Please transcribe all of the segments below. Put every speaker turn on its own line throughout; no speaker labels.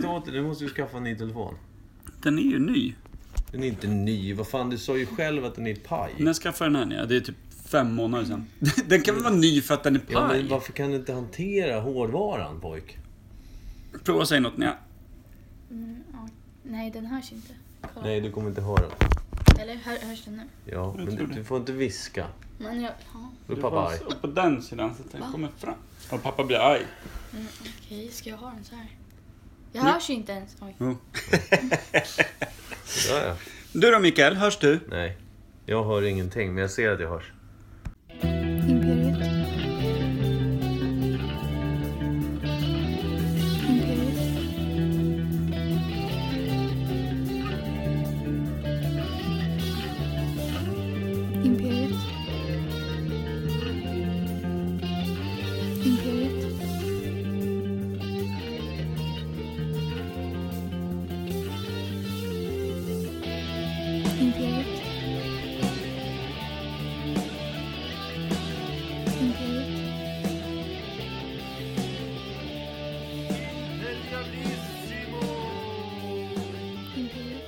går inte. Du måste ju skaffa en ny telefon.
Den är ju ny.
Den är inte ny. Vad fan, du sa ju själv att den är paj.
När skaffade jag den här? Ja, det är typ fem månader sedan. Den kan väl vara ny för att den är
Ja, men
paj?
varför kan du inte hantera hårdvaran, pojk?
Prova att säga något. Nja.
Mm, ja. Nej, den hörs inte. Kolla.
Nej, du kommer inte höra.
Eller hör, hörs den nu?
Ja, men du,
tror det.
du får inte viska.
Men jag... Ja.
Då är pappa arg.
Du var så på den sidan så att den kommer fram. Och pappa blir arg.
Mm, Okej, ska jag ha den så här? Jag hörs ju inte ens. Oj.
Ja, ja.
Du då Mikael, hörs du?
Nej. Jag hör ingenting, men jag ser att jag hörs.
Imperiet. Imperiet. Imperiet. Imperiet. Imperiet. Imperiet. Imperiet.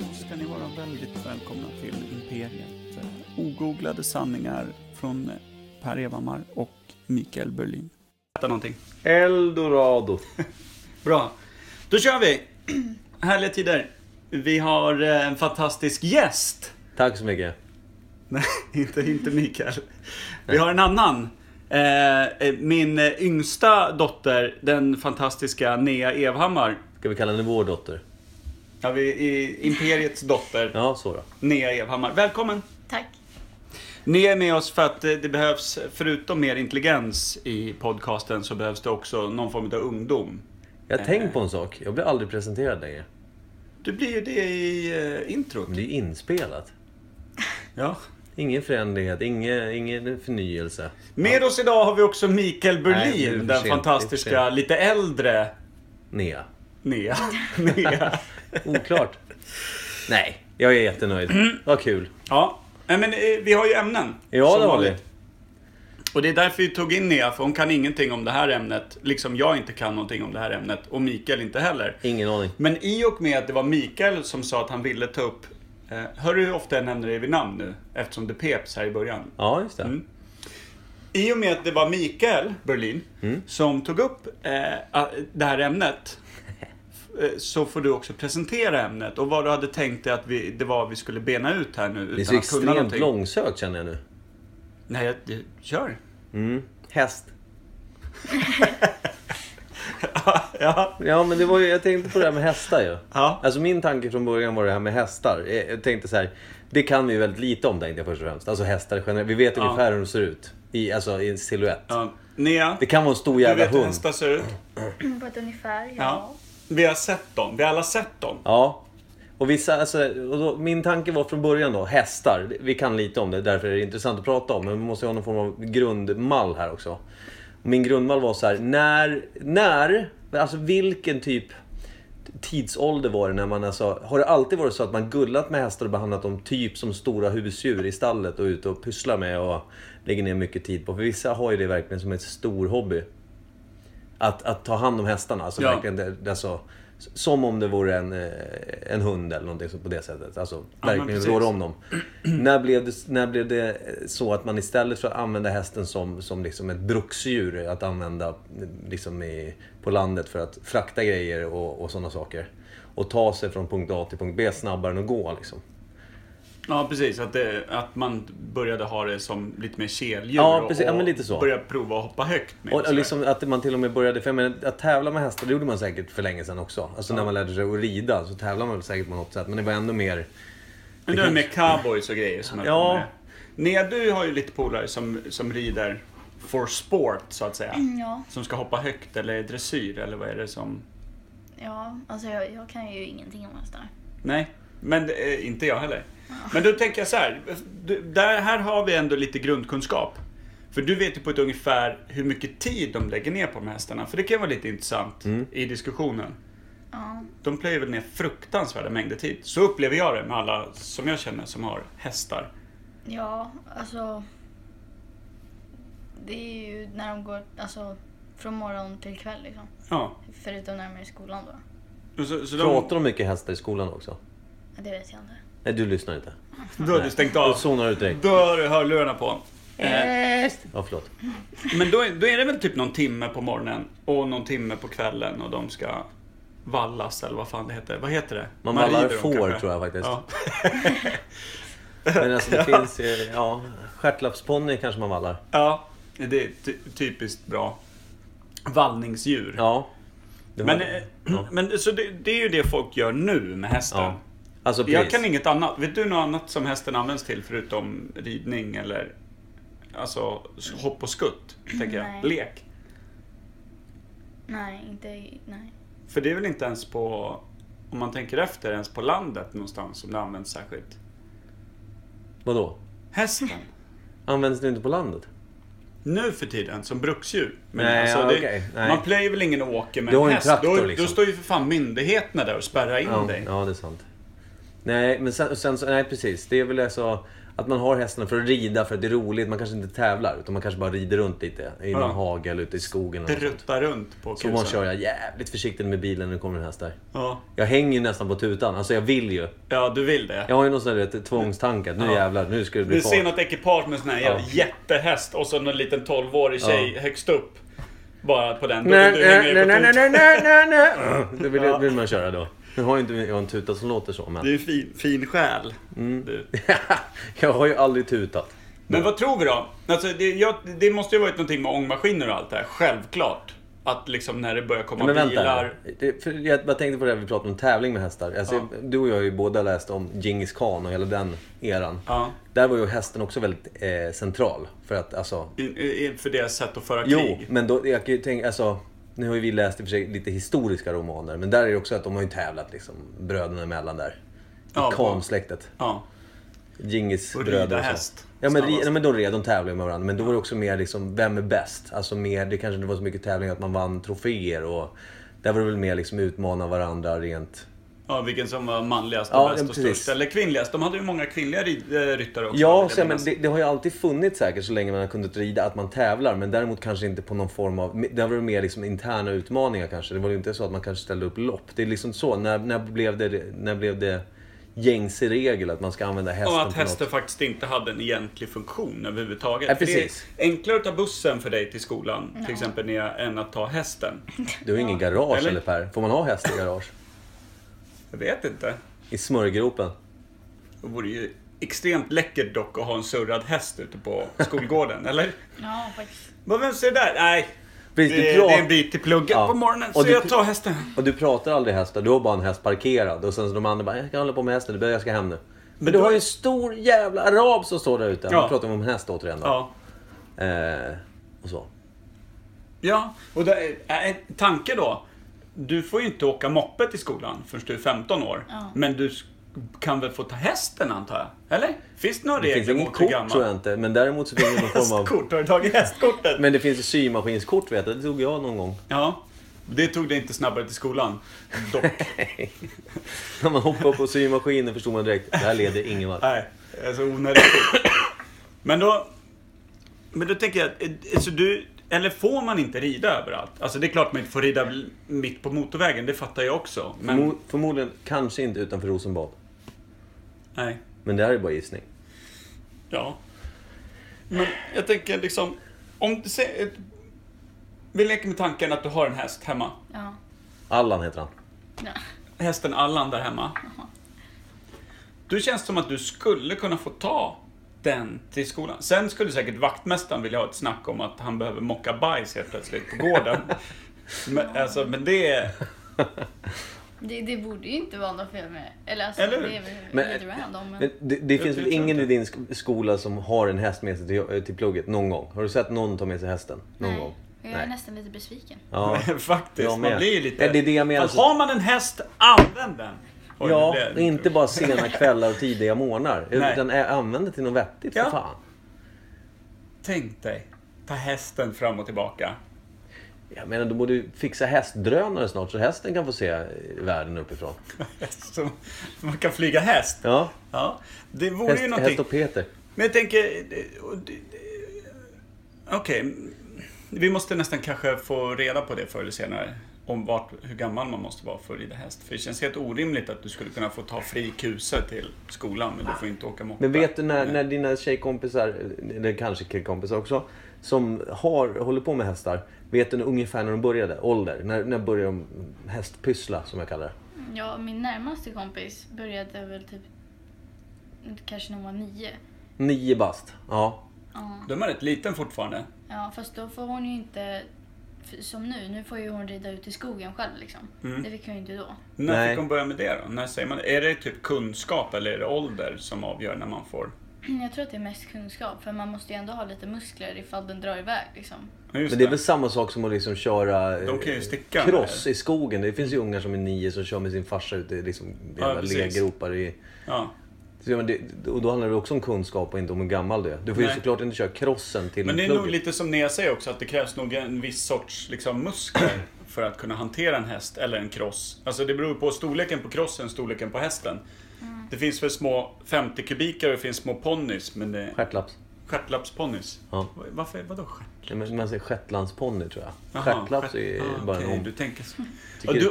Då ska ni vara väldigt välkomna till Imperiet. Eh, Ogooglade sanningar från eh, Per Evhammar och Mikael Berlin. Äta någonting.
Eldorado.
Bra. Då kör vi! Härliga tider. Vi har eh, en fantastisk gäst.
Tack så mycket.
Nej, inte, inte Mikael. Vi har en annan. Eh, eh, Min eh, yngsta dotter, den fantastiska Nea Evhammar.
Ska vi kalla henne vår dotter?
Ja, vi i Imperiets dotter,
Ja, så då.
Nea Evhammar. Välkommen!
Tack.
Ni är med oss för att eh, det behövs, förutom mer intelligens i podcasten, så behövs det också någon form av ungdom. Eh.
Jag har tänkt på en sak. Jag blir aldrig presenterad längre.
Du blir ju det i eh, introt.
Men det är ju inspelat.
Ja.
Ingen förändlighet, ingen, ingen förnyelse.
Med oss idag har vi också
Nej,
Mikael
det är
Berlin,
för
den
sent, det är för
fantastiska, lite äldre
Nea.
Nea. Nea.
Oklart. Nej, jag är jättenöjd. Vad kul.
Ja, Nej, men eh, vi har ju ämnen.
Ja,
som
det har vi.
vanligt. Och det är därför vi tog in Nea, för hon kan ingenting om det här ämnet. Liksom jag inte kan någonting om det här ämnet, och Mikael inte heller.
Ingen aning.
Men i och med att det var Mikael som sa att han ville ta upp... Eh, hör du hur ofta jag nämner dig vid namn nu? Eftersom det peps här i början.
Ja, just det.
I och med att det var Mikael Berlin
Mm.
som tog upp eh, a- det här ämnet. eh, Så får du också presentera ämnet och vad du hade tänkt dig att vi, det var vi skulle bena ut här nu.
Det är så
Utan att kunna
extremt
någonting.
långsökt känner jag nu.
Nej, jag, jag, kör.
Mm. Häst.
ja.
Ja, men det var ju, jag tänkte på det här med hästar ju.
Ja.
Alltså min tanke från början var det här med hästar. Jag jag tänkte så här, det kan vi ju väldigt lite om tänkte jag först och främst. Alltså hästar generellt. Vi vet ungefär hur de ser ut. I, alltså i en silhuett.
ja. Nea,
Det kan vara en stor
du
jävla
vet hur
hund.
hästar ser ut?
Mm, På ett ungefär, ja.
Ja. Vi har sett dem. Vi har alla sett dem.
Ja. Och vissa, alltså, och då, min tanke var från början då, hästar. Vi kan lite om det, därför är det intressant att prata om. Men vi måste ju ha någon form av grundmall här också. Och min grundmall var så här, när, när, alltså vilken typ tidsålder var det när man alltså, har det alltid varit så att man gullat med hästar och behandlat dem typ som stora husdjur i stallet och ute och pysslar med och lägger ner mycket tid på? För vissa har ju det verkligen som en stor hobby. Att, att ta hand om hästarna. Alltså
Ja.
verkligen det, det, alltså, s- som om det vore en, eh, en hund eller någonting så på det sättet. Alltså
men
verkligen
precis.
rå om dem. när, blev det, när blev det eh, så att man istället för att använda hästen som, som liksom ett bruksdjur att använda liksom i, på landet för att frakta grejer och, och sådana saker. Och ta sig från punkt A till punkt B snabbare än att gå liksom.
Ja, precis. Att, det, att man började ha det som lite mer keldjur.
Ja,
och-
precis. Ja, men
och
lite så.
Började prova att hoppa högt med.
Och,
och
och
sådär.
liksom att man till och med började, för jag menar, att tävla med hästar det gjorde man säkert för länge sedan också. Alltså när man lärde sig att rida så tävlade man väl säkert på något sätt. Men det var ändå mer...
men det är med cowboys och grejer som höll på
Ja.
med det. Nea, du har ju lite polare som, som rider for sport, så att säga.
Mm,
Mm,
ja.
Som ska hoppa högt eller dressyr, eller vad är det som...
Ja, alltså jag, jag kan ju ingenting om hästar.
Nej, men eh, inte jag heller. Men då tänker jag så här. Du, där, här har vi ändå lite grundkunskap. För du vet ju på ett ungefär hur mycket tid de lägger ner på de här hästarna. För det kan vara lite intressant i diskussionen.
Ja.
De plöjer väl ner fruktansvärda mängder tid. Så upplever jag det med alla som jag känner som har hästar.
Ja, alltså... Det är ju när de går... Alltså, Från morgon till kväll liksom.
Ja.
Förutom när de är i skolan då.
Och Så, så de,
Pratar de mycket hästar i skolan också?
Ja, det vet jag inte.
Nej, du lyssnar inte.
då har du stängt av.
Du zonar ut direkt.
Då har du hörlurarna på. Eh,
Ja, förlåt.
Men då är, då är det väl typ någon timme på morgonen och någon timme på kvällen och de ska vallas eller vad fan det heter. Vad heter det?
Man vallar
rider dem
får,
kanske.
tror jag faktiskt.
Ja.
Men alltså det finns ju... Ja, stjärtlappsponny kanske man vallar.
ja, det är ty- typiskt bra. Vallningsdjur.
Ja. Det
Men,
har-
eh,
ja.
men så det, det är ju det folk gör nu med hästen.
ja. Alltså precis.
Jag kan inget annat. Vet du något annat som hästen används till förutom ridning eller alltså hopp och skutt? Tänker jag.
Nej.
Lek.
Nej, inte... i- Nej.
För det är väl inte ens på, om man tänker efter, ens på landet någonstans som det används särskilt.
Vadå?
Hästen.
Används det inte på landet?
Nu för tiden, som bruksdjur. Men
Nej,
alltså,
ja,
det,
okej, nej.
Man plöjer väl ingen och åker med
Du har
en
ju en
häst?
traktor,
då,
liksom.
då står ju för fan myndigheterna där och spärrar in
Ja,
dig.
ja, det är sant. Nej, men sen, sen så, nej precis. Det är väl alltså att man har hästarna för att rida, för att det är roligt. Man kanske inte tävlar, utan man kanske bara rider runt lite. I någon
Ja.
hage eller ute i skogen. Eller något sånt.
Drutta runt på
så man kör jag jävligt försiktigt med bilen när det kommer en häst där.
Ja.
Jag hänger ju nästan på tutan. Alltså jag vill ju.
ja, du vill det.
Jag har ju någon sån där du vet, tvångstanke. att Nu
Ja.
jävlar, nu ska det bli
Du ser
fart.
något ekipage med en sån här jävla
Ja.
jättehäst och så någon liten 12-årig tjej högst upp. Bara på den. Då,
Nej,
du hänger
nej,
ju
nej,
på
nej,
tut.
nej, nej, nej, nej. Det vill, vill man köra då. Nu har ju inte jag en tuta som låter så, men...
Du är en fin, fin själ.
Mm.
Du.
jag har ju aldrig tutat.
Men vad tror vi då? Alltså, det, jag, det måste ju varit någonting med ångmaskiner och allt det här. Självklart. Att liksom när det börjar komma
Men vänta.
bilar.
Det, för jag bara tänkte på det här vi pratade om tävling med hästar. Alltså, Du och jag har ju båda läst om Genghis Khan och hela den eran.
Ja.
Där var ju hästen också väldigt eh, central. För att alltså...
I, i, för deras sätt att föra
Jo,
krig.
men då, jag kan ju tänka, alltså... Nu har ju vi läst i och för sig lite historiska romaner, men där är det också att de har ju tävlat liksom, bröderna emellan där. I
Ja, på-
Khan-släktet.
Ja.
Djingis
Och
bröder
rida
så.
häst.
Ja men, ri-
Snabbast.
ja, men då red de tävlingar med varandra. Men då var det också mer liksom, vem är bäst? Alltså mer, det kanske inte var så mycket tävling att man vann troféer och... Där var det väl mer liksom utmana varandra rent...
ja, vilken som var manligast och
Ja,
bäst
ja,
och
precis.
störst. Eller kvinnligast. De hade ju många kvinnliga rid, eh, ryttare också. vill
Ja,
jag
så, men
minnas.
det, det har ju alltid funnits säkert så länge man har kunnat rida att man tävlar. Men däremot kanske inte på någon form av... Där var det mer liksom interna utmaningar kanske. Det var ju inte så att man kanske ställde upp lopp. Det är liksom så. När, när, blev, det, när blev det gängse regel att man ska använda hästen
Och att
på något?
hästen faktiskt inte hade en egentlig funktion överhuvudtaget.
Ja,
För det är
precis.
enklare att ta bussen för dig till skolan, till exempel, Nea, än att ta hästen.
Du har ju ingen garage
Eller?
eller Per? Får man ha häst i garage?
Jag vet inte.
I smörgropen?
Det vore ju extremt läckert dock att ha en surrad häst ute på skolgården, eller?
Ja, faktiskt.
Vad vem ser där? Nej, det,
Precis, du
det är
pratar-
en bit till plugget
Ja.
på morgonen,
Och
så
du-
jag tar hästen.
Och du pratar aldrig hästar, du har bara en häst parkerad. Och sen så de andra bara, jag kan hålla på med hästen, jag ska hem nu. Men, du
då-
har ju en stor jävla arab som står där ute.
Ja.
Nu pratar vi om häst återigen då.
Ja.
Eh, och så.
Ja, och det, äh, tanke då. Du får ju inte åka moppe till skolan förrän du är 15 år.
Ja.
Men du sk- kan väl få ta hästen antar jag? Eller? Finns det några
Det finns
regler
inget
mot hur
kort
gammal?
tror jag inte, men däremot så finns det någon form av...
Hästkort? Har du tagit hästkortet?
Men det finns ju symaskinskort vet jag, det tog jag någon gång.
Ja. Det tog dig inte snabbare till skolan. Dock.
När man hoppade på symaskinen förstod man direkt, det här leder ingen vart.
Nej, alltså onödigt skit. Men då... Men då tänker jag, eh, alltså du... Eller får man inte rida överallt? Alltså det är klart man inte får rida l- mitt på motorvägen, det fattar jag också. Men...
Förmo- Förmodligen, kanske inte utanför Rosenbad.
Nej.
Men det här är bara gissning.
Ja. Men jag tänker liksom, om du säger... ett- Vi leker med tanken att du har en häst hemma.
Ja.
Allan heter
Mm.
han.
ja.
Hästen Allan där hemma. Du känns som att du skulle kunna få ta den till skolan. Sen skulle säkert vaktmästaren vilja ha ett snack om att han behöver mocka bajs helt plötsligt på gården. men, alltså, men det...
Det, det borde ju inte vara något fel med det. Eller alltså,
Eller hur?
det är väl
Men- eh,
lite random. Men...
Men det, det finns väl
tror
ingen
inte.
i din sk- skola som har en häst med sig till, till plugget någon gång? Har du sett någon ta med sig hästen? Någon
Nej.
gång?
Jag är nästan lite besviken.
Ja.
Faktiskt,
Jag
man
med.
blir ju lite...
Ja, det är det jag menar.
Fast har man en häst, använd den! Oj,
Ja,
nu blev det-
inte bara sena kvällar och tidiga morgnar.
Nej.
Utan ä- använd det till något vettigt
Ja.
för fan.
Tänk dig, ta hästen fram och tillbaka.
Jag menar, du borde ju fixa hästdrönare snart så hästen kan få se eh, världen uppifrån.
Som, man kan flyga häst.
Ja,
Ja, det vore
häst,
ju
häst
någonting.
och Peter.
Men jag tänker... eh, och det- det- Okej. Vi måste nästan kanske få reda på det förr eller senare. Om vart, hur gammal man måste vara för att rida häst. För det känns helt orimligt att du skulle kunna få ta fri kusa till skolan men du får inte åka moppe.
Men vet du när, när dina tjejkompisar, eller kanske killkompisar också, som har, håller på med hästar. Vet du ungefär när de började? Ålder? När, när började de hästpyssla som jag kallar det?
Ja, min närmaste kompis började väl typ kanske när hon var nio.
Nio bast. Ja.
Ja,
De är rätt liten fortfarande.
ja fast då får hon ju inte f- som nu. Nu får ju hon rida ut i skogen själv liksom.
Mm.
Det fick hon ju inte då.
När
Nej.
fick de börja med det då? När säger man, är det typ kunskap eller är det ålder som avgör när man får?
Jag tror att det är mest kunskap för man måste ju ändå ha lite muskler ifall den drar iväg liksom.
Ja, just
Men det är väl samma sak som att liksom köra eh,
De kan ju sticka.
cross i skogen. Det finns ju ungar som är nio som kör med sin farsa ute i liksom,
Ja,
jävla
precis.
legropar. I...
Ja.
Så, ja, men det, och då handlar det också om kunskap och inte om hur gammal du är. Du får ju
Nej.
såklart inte köra crossen till
Men det är nog
plugget.
lite som Nea säger också, att det krävs nog en viss sorts liksom, muskler för att kunna hantera en häst eller en cross. Alltså det beror på storleken på crossen, storleken på hästen. Det finns väl små 50 kubiker och det finns små ponnys, men det...
Stjärtlaps.
Stjärtlappsponnys?
Ja.
Varför, vadå stjärt?
Nej, men Man säger shetlandsponny tror jag.
Jaha,
Stjärtlaps är
stjärt-
ju
ah,
bara
okej,
en
du
om...
tänker så. Ja,
Tycker-
du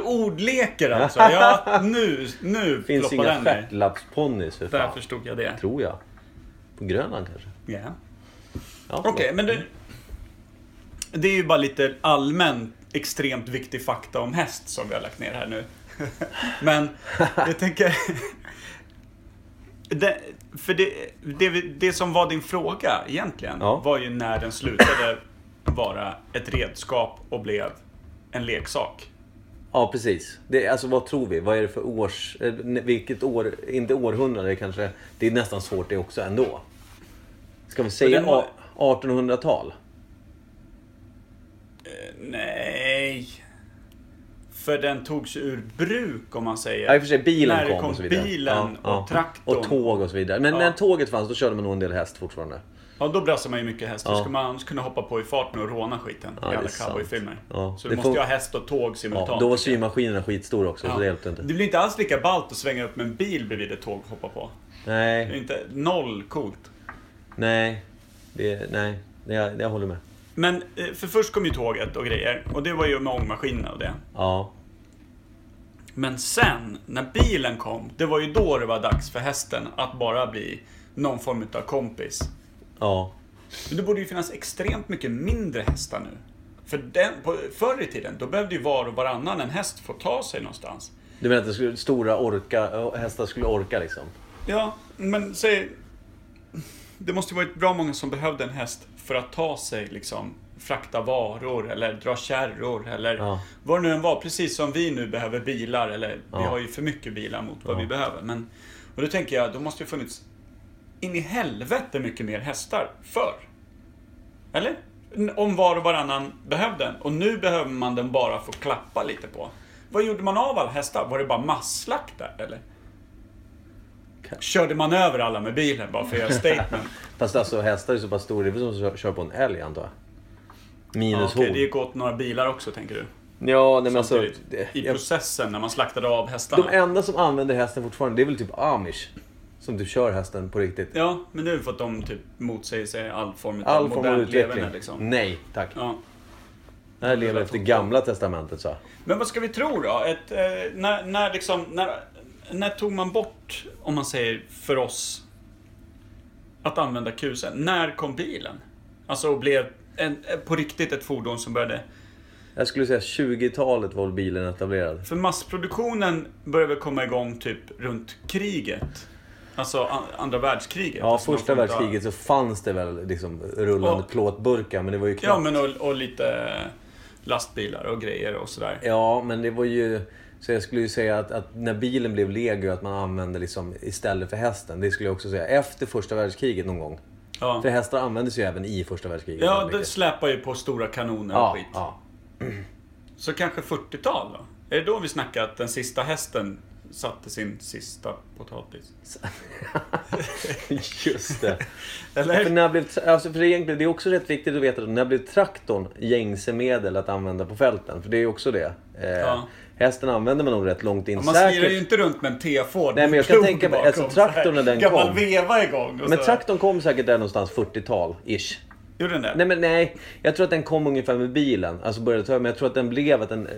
ordleker alltså? Ja, nu, nu
finns
ploppar
inga
den där.
stjärtlapsponnys för
Där
fan.
förstod jag det.
Tror jag. På Grönland kanske.
Ja.
Ja,
Okej, men det, det är ju bara lite allmän extremt viktig fakta om häst som vi har lagt ner här nu. men jag tänker... Det, för det, det, vi- det som var din fråga egentligen
Ja.
var ju när den slutade vara ett redskap och blev en leksak.
Ja, precis. Det, alltså vad tror vi? Vad är det för års... eh, Vilket år? Inte århundrade kanske. Det är nästan svårt det också ändå. Ska vi säga
den var-
a- 1800-tal?
Eh, Nej. För den togs ur bruk om man säger.
Ja, i och för sig bilen
När det
kom,
kom
och så vidare.
bilen
ja, ja.
och traktorn.
Och tåg och så vidare. Men
Ja.
när tåget fanns då körde man nog en del häst fortfarande.
Ja, då brassar man ju mycket häst. Då
Ja.
skulle man annars kunna hoppa på i farten och råna skiten.
det
I
är
alla
sant.
cowboyfilmer.
Ja,
Så
det
du måste
får-
ju ha häst och tåg simultant.
Ja, då var
tycker jag.
symaskinerna skitstora också, så det hjälpte inte.
Det blir inte alls lika ballt att svänga upp med en bil bredvid ett tåg och hoppa på. Det är
Nej,
inte noll coolt.
nej. Det, nej. Jag, jag håller med.
Men eh, för först kom ju tåget och grejer. Och det var ju med ångmaskinerna och det.
Ja.
Men sen, när bilen kom, det var ju då det var dags för hästen att bara bli någon form av kompis.
Ja.
Men det borde ju finnas extremt mycket mindre hästar nu. För den, på, förr i tiden, då behövde ju var och varannan en häst få ta sig någonstans.
Du menar att det skulle, stora orka, hästar skulle orka liksom?
Ja, men säg... Det måste ju varit bra många som behövde en häst för att ta sig liksom frakta varor eller dra kärror eller
Ja.
vad det nu än var. Precis som vi nu behöver bilar eller vi
Ja.
har ju för mycket bilar mot vad
Ja.
vi behöver. Men, och då tänker jag, då måste ju funnits in i helvete mycket mer hästar förr. Eller? N- Om var och varannan behövde den. Och nu behöver man den bara för att klappa lite på. Vad gjorde man av alla hästar? Var det bara masslakt där eller?
Ka-
Körde man över alla med bilen bara för att göra statement?
Fast alltså hästar är så pass stora, det är väl som att kö- köra på en älg antar jag?
Ja,
Minus
okej,
horn.
det gick åt några bilar också tänker du?
Ja, nej men alltså...
Samtidigt,
det-
I
jag-
processen när man slaktade av hästarna?
De enda som använder hästen fortfarande, det är väl typ amish. Som typ kör hästen på riktigt.
Ja, men nu för att de typ motsäger sig all form av
All form av
modernt
utveckling. Mm.
leverne, liksom.
Nej, tack.
Ja.
Det här lever efter gamla testamentet så.
Men vad ska vi tro då? Ett, eh, när, när, liksom, när, när tog man bort, om man säger för oss, att använda kusen? När kom bilen? Alltså och blev en, eh, på riktigt ett fordon som började...
Jag skulle säga 20-talet var väl bilen etablerad.
För massproduktionen började väl komma igång typ runt kriget? Alltså an, andra världskriget?
Ja,
alltså,
första
någon form av-
världskriget så fanns det väl liksom rullande
Ja.
plåtburkar, men det var ju knappt.
Ja, men och, och lite lastbilar och grejer och sådär.
Ja, men det var ju... Så jag skulle ju säga att, att när bilen blev lego, att man använde liksom istället för hästen. Det skulle jag också säga. Efter första världskriget någon gång.
Ja,
För hästar användes ju även i första världskriget.
ja
väldigt
det
mycket.
släpar ju på stora kanoner och
ja,
skit.
ja.
Så kanske 40-tal då? Är det då vi snackar att den sista hästen satte sin sista potatis?
Just det. För,
Eller?
när blev, alltså för egentligen, det är också rätt viktigt att veta att när blev traktorn gängse medel att använda på fälten? För det är ju också det. Eh,
Ja.
Hästen använde man nog rätt långt in.
Man slirar ju
Säkert.
inte runt med en T-Ford.
Nej, men jag kan
Plog
tänka mig,
bakom,
alltså, traktorn när den
så här, Gammal
kom.
veva igång.
Men
Och så här.
traktorn kom säkert där någonstans 40-tal, ish.
Gjorde den det?
Nej, men nej. Jag tror att den kom ungefär med bilen. Alltså började ta över. Men jag tror att den blev att den eh,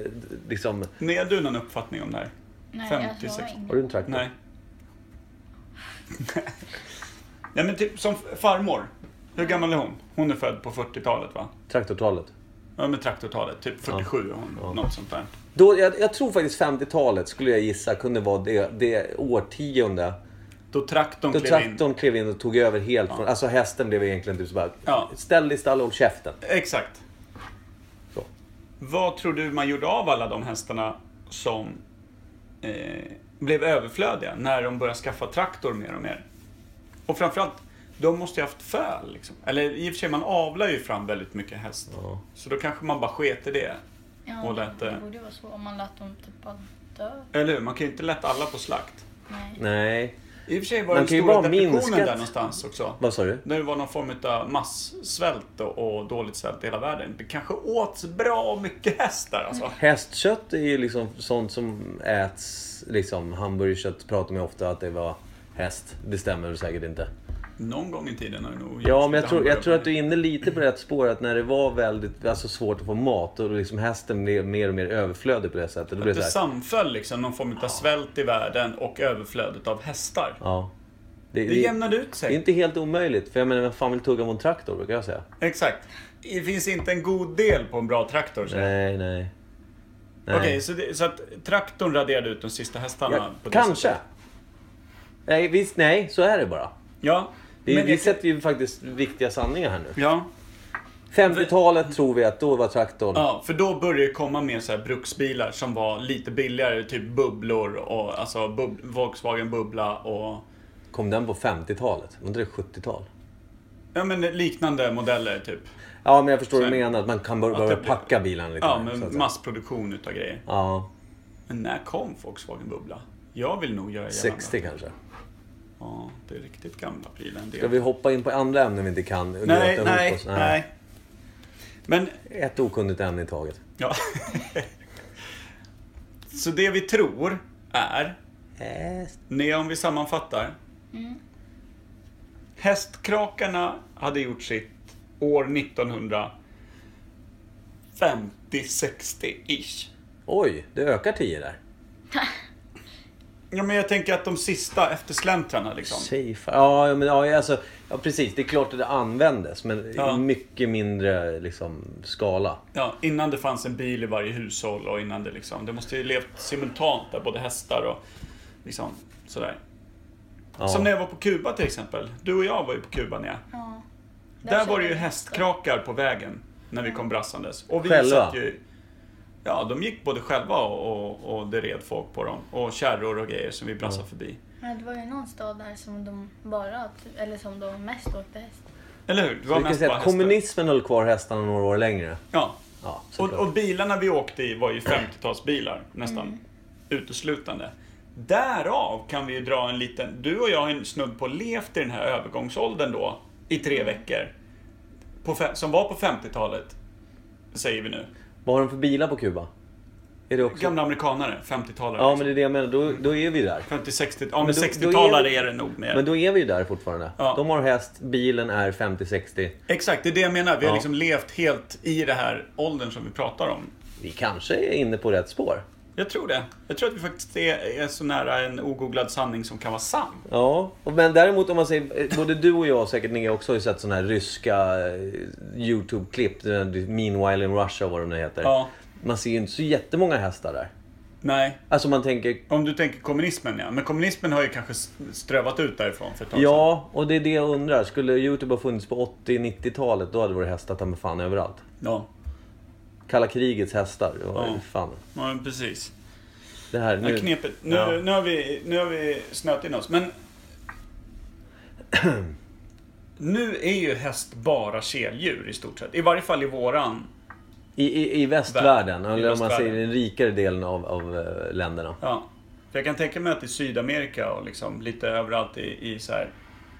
liksom...
Nej, hade du någon uppfattning om det här?
Nej,
50,
jag har
60.
Har du
ingen.
en traktor?
Nej. Nej men typ som farmor. Hur gammal är hon? Hon är född på 40-talet va?
Traktortalet.
Ja men traktortalet, typ 47 är hon. Något sånt där.
Då, jag, jag tror faktiskt 50-talet skulle jag gissa kunde vara det, det årtionde
Då traktorn
då
klev in.
traktorn klev in och tog över helt från... Alltså hästen blev egentligen typ så bara...
Ja.
Ställ dig i stall och håll käften.
Exakt.
Så.
Vad tror du man gjorde av alla de hästarna som eh, blev överflödiga när de började skaffa traktor mer och mer? Och framförallt, de måste ju haft föl. Liksom. Eller i och för sig, man avlar ju fram väldigt mycket häst.
Ja.
Så då kanske man bara sket i det.
Ja,
Och lät, eh,
det borde vara så om man lät dem typ bara dö.
Eller hur? Man kan ju inte lätta alla på slakt.
Nej.
Nej.
I och för sig var
Man
den
kan ju
stora
bara
depressionen
minska-
där någonstans också.
Vad sa du?
När det var någon form av massvält och, och dåligt svält i hela världen. Det kanske åts bra mycket häst där alltså.
Hästkött är ju liksom sånt som äts. Liksom, hamburgerkött pratar man ju ofta att det var häst. Det stämmer väl säkert inte.
Någon gång i tiden har det nog
Ja,
gjorts
men jag
lite
tror, jag
hamburgare.
tror att du är inne lite på rätt spår. Att när det var väldigt alltså, svårt att få mat och liksom hästen blev mer och mer överflödig på det sättet. Då blev
Det
det så här,
samföll liksom någon form av svält i världen och överflödet av hästar.
ja. Det,
Det
det, det,
jämnade ut
är
sig.
inte helt omöjligt. För jag menar, vem fan vill tugga på en traktor brukar jag säga.
Exakt. Det finns inte en god del på en bra traktor. säger jag.
Nej, nej. nej.
Okej, så, det- så att traktorn raderade ut de sista hästarna?
Ja,
på det
kanske.
sättet.
Nej, visst, nej, så är det bara.
Ja.
Vi,
men
vi
jag-
sätter ju faktiskt viktiga sanningar här nu.
Ja.
50-talet tror vi att då var traktorn.
Ja, för då började det komma mer så här bruksbilar som var lite billigare, typ bubblor och alltså bub Volkswagen Bubbla och
Kom den på 50-talet? Var inte det 70-tal?
ja, men liknande modeller typ.
Ja, men jag förstår
Så
vad du
är det.
menar. Att man kan bör-
Att
börja
det-
packa bilen lite.
Ja,
mer, så att
men
säga.
massproduktion utav grejer.
Ja,
Men när kom Volkswagen Bubbla? Jag vill nog göra gällande.
60 kanske.
Ja, det är riktigt gamla prylar. en del.
Ska vi hoppa in på andra ämnen vi inte kan? och gröta
Nej,
ihop
nej,
oss?
nej. Men,
Ett okunnigt ämne i taget.
ja. Så det vi tror är, nej, om vi sammanfattar. Hästkrakarna hade gjort sitt år 1950-60-ish.
Oj, det ökar 10 där.
Ja, men jag tänker att de sista eftersläntrarna liksom.
Safe. Ja, ja, men, ja, alltså, ja, precis. Det är klart att det användes, men
Ja.
i mycket mindre liksom, skala.
Ja, innan det fanns en bil i varje hushåll och innan det liksom, det måste ju levt simultant där, både hästar och liksom sådär.
Ja.
Som när jag var på Kuba till exempel. Du och jag var ju på Kuba Nia.
Ja. Alltså,
Där var det ju
körde-
hästkrakar på vägen när vi kom brassandes. Och vi
Själva?
satt ju... Ja, de gick både själva och, och, och det red folk på dem. Och kärror och grejer som vi brassade förbi.
Ja, det var ju någon stad där som de bara, eller som de mest åkte häst.
Eller hur? Det var
Vi kan
mest
säga
bara
att
hästar.
kommunismen höll kvar hästarna några år längre.
Ja.
Ja,
Och,
såklart. Mm.
och bilarna vi åkte i var ju 50-talsbilar nästan uteslutande. Därav kan vi ju dra en liten... Du och jag har ju snudd på levt i den här övergångsåldern då i
Mm.
tre veckor. På, fe- som var på 50-talet, säger vi nu.
Vad har de för bilar på Kuba? Är det också...
Gamla amerikanare, 50-talare.
Ja, men
liksom.
det är det jag menar. Då, då är vi där.
50-60, ja men
då- då är
60-talare
vi-
är det nog mer.
Men då är vi ju där fortfarande.
Ja.
De har häst, bilen är 50-60.
Exakt, det är det jag menar. Vi har
Ja.
liksom levt helt i det här åldern som vi pratar om.
Vi kanske är inne på rätt spår.
Jag tror det. Jag tror att vi faktiskt är, är så nära en ogooglad sanning som kan vara sann.
Ja, och men däremot om man säger, eh, både du och jag och säkert ni också har ju sett sådana här ryska eh, YouTube-klipp. den här Meanwhile in Russia vad de nu heter.
Ja.
Man ser ju inte så jättemånga hästar där.
Nej,
Alltså man tänker,
om du tänker kommunismen ja. Men kommunismen har ju kanske s- strövat ut därifrån för ett tag sedan.
ja, och det är det jag undrar. Skulle YouTube ha funnits på 80-90-talet, då hade det varit hästar ta mig fan överallt.
Ja.
Kalla krigets hästar. Det var ju
Ja.
fan.
Ja, men precis.
Det här
Det här
nu.
knepet. Nu,
Ja.
nu, har vi, nu har vi snöat in oss. Men... nu är ju häst bara keldjur i stort sett. I varje fall i våran
I, i, I västvärlden,
Världen. I
eller om man säger
västvärlden.
den rikare delen av, av eh, länderna.
Ja. För jag kan tänka mig att i Sydamerika och liksom lite överallt i, i så här.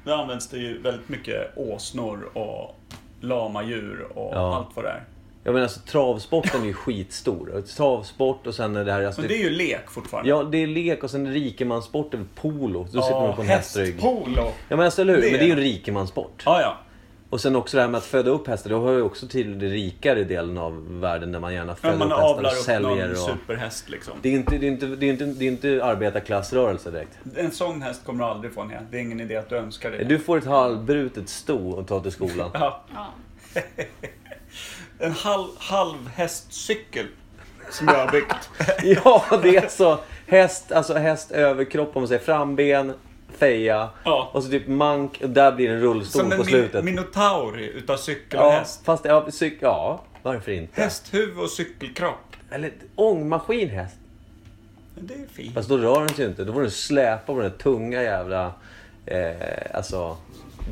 Där används det ju väldigt mycket åsnor och lamadjur och
Ja.
allt vad det är.
Jag menar alltså travsporten är ju skitstor. Travsport och sen är det här... Alltså,
Men det är ju lek fortfarande.
Ja, det är lek och sen rikemanssport över polo. Då sitter man på en hästrygg.
hästpolo.
Ja men alltså eller hur?
Det-
Men det är ju en rikemansport.
Ja, ja.
Och sen också det här med att föda upp hästar. Det hör ju också till den rikare delen av världen där man gärna
Ja,
föder upp
man
hästar
avlar
och
upp någon
säljer. Och...
superhäst liksom.
Det är inte, det är inte, det är inte, det är inte arbetarklassrörelse direkt.
En sån häst kommer du aldrig få ner. Det är ingen idé att du önskar det.
Du får ett halvbrutet sto att ta till skolan.
Ja,
Ja.
en halv, halv hästcykel som jag har byggt.
ja, det är alltså häst, alltså häst överkropp om man säger framben, feja
Ja.
och så typ mank. Och där blir det en rullstol
Som en
på
min-
slutet.
minotauri utav cykel och
ja,
häst.
fast ja, cyk, ja, varför inte?
Hästhuvud och cykelkropp.
Eller ångmaskin häst.
Men Det är fint.
Fast då rör den sig ju inte. Då får den släpa på den där tunga jävla eh, alltså,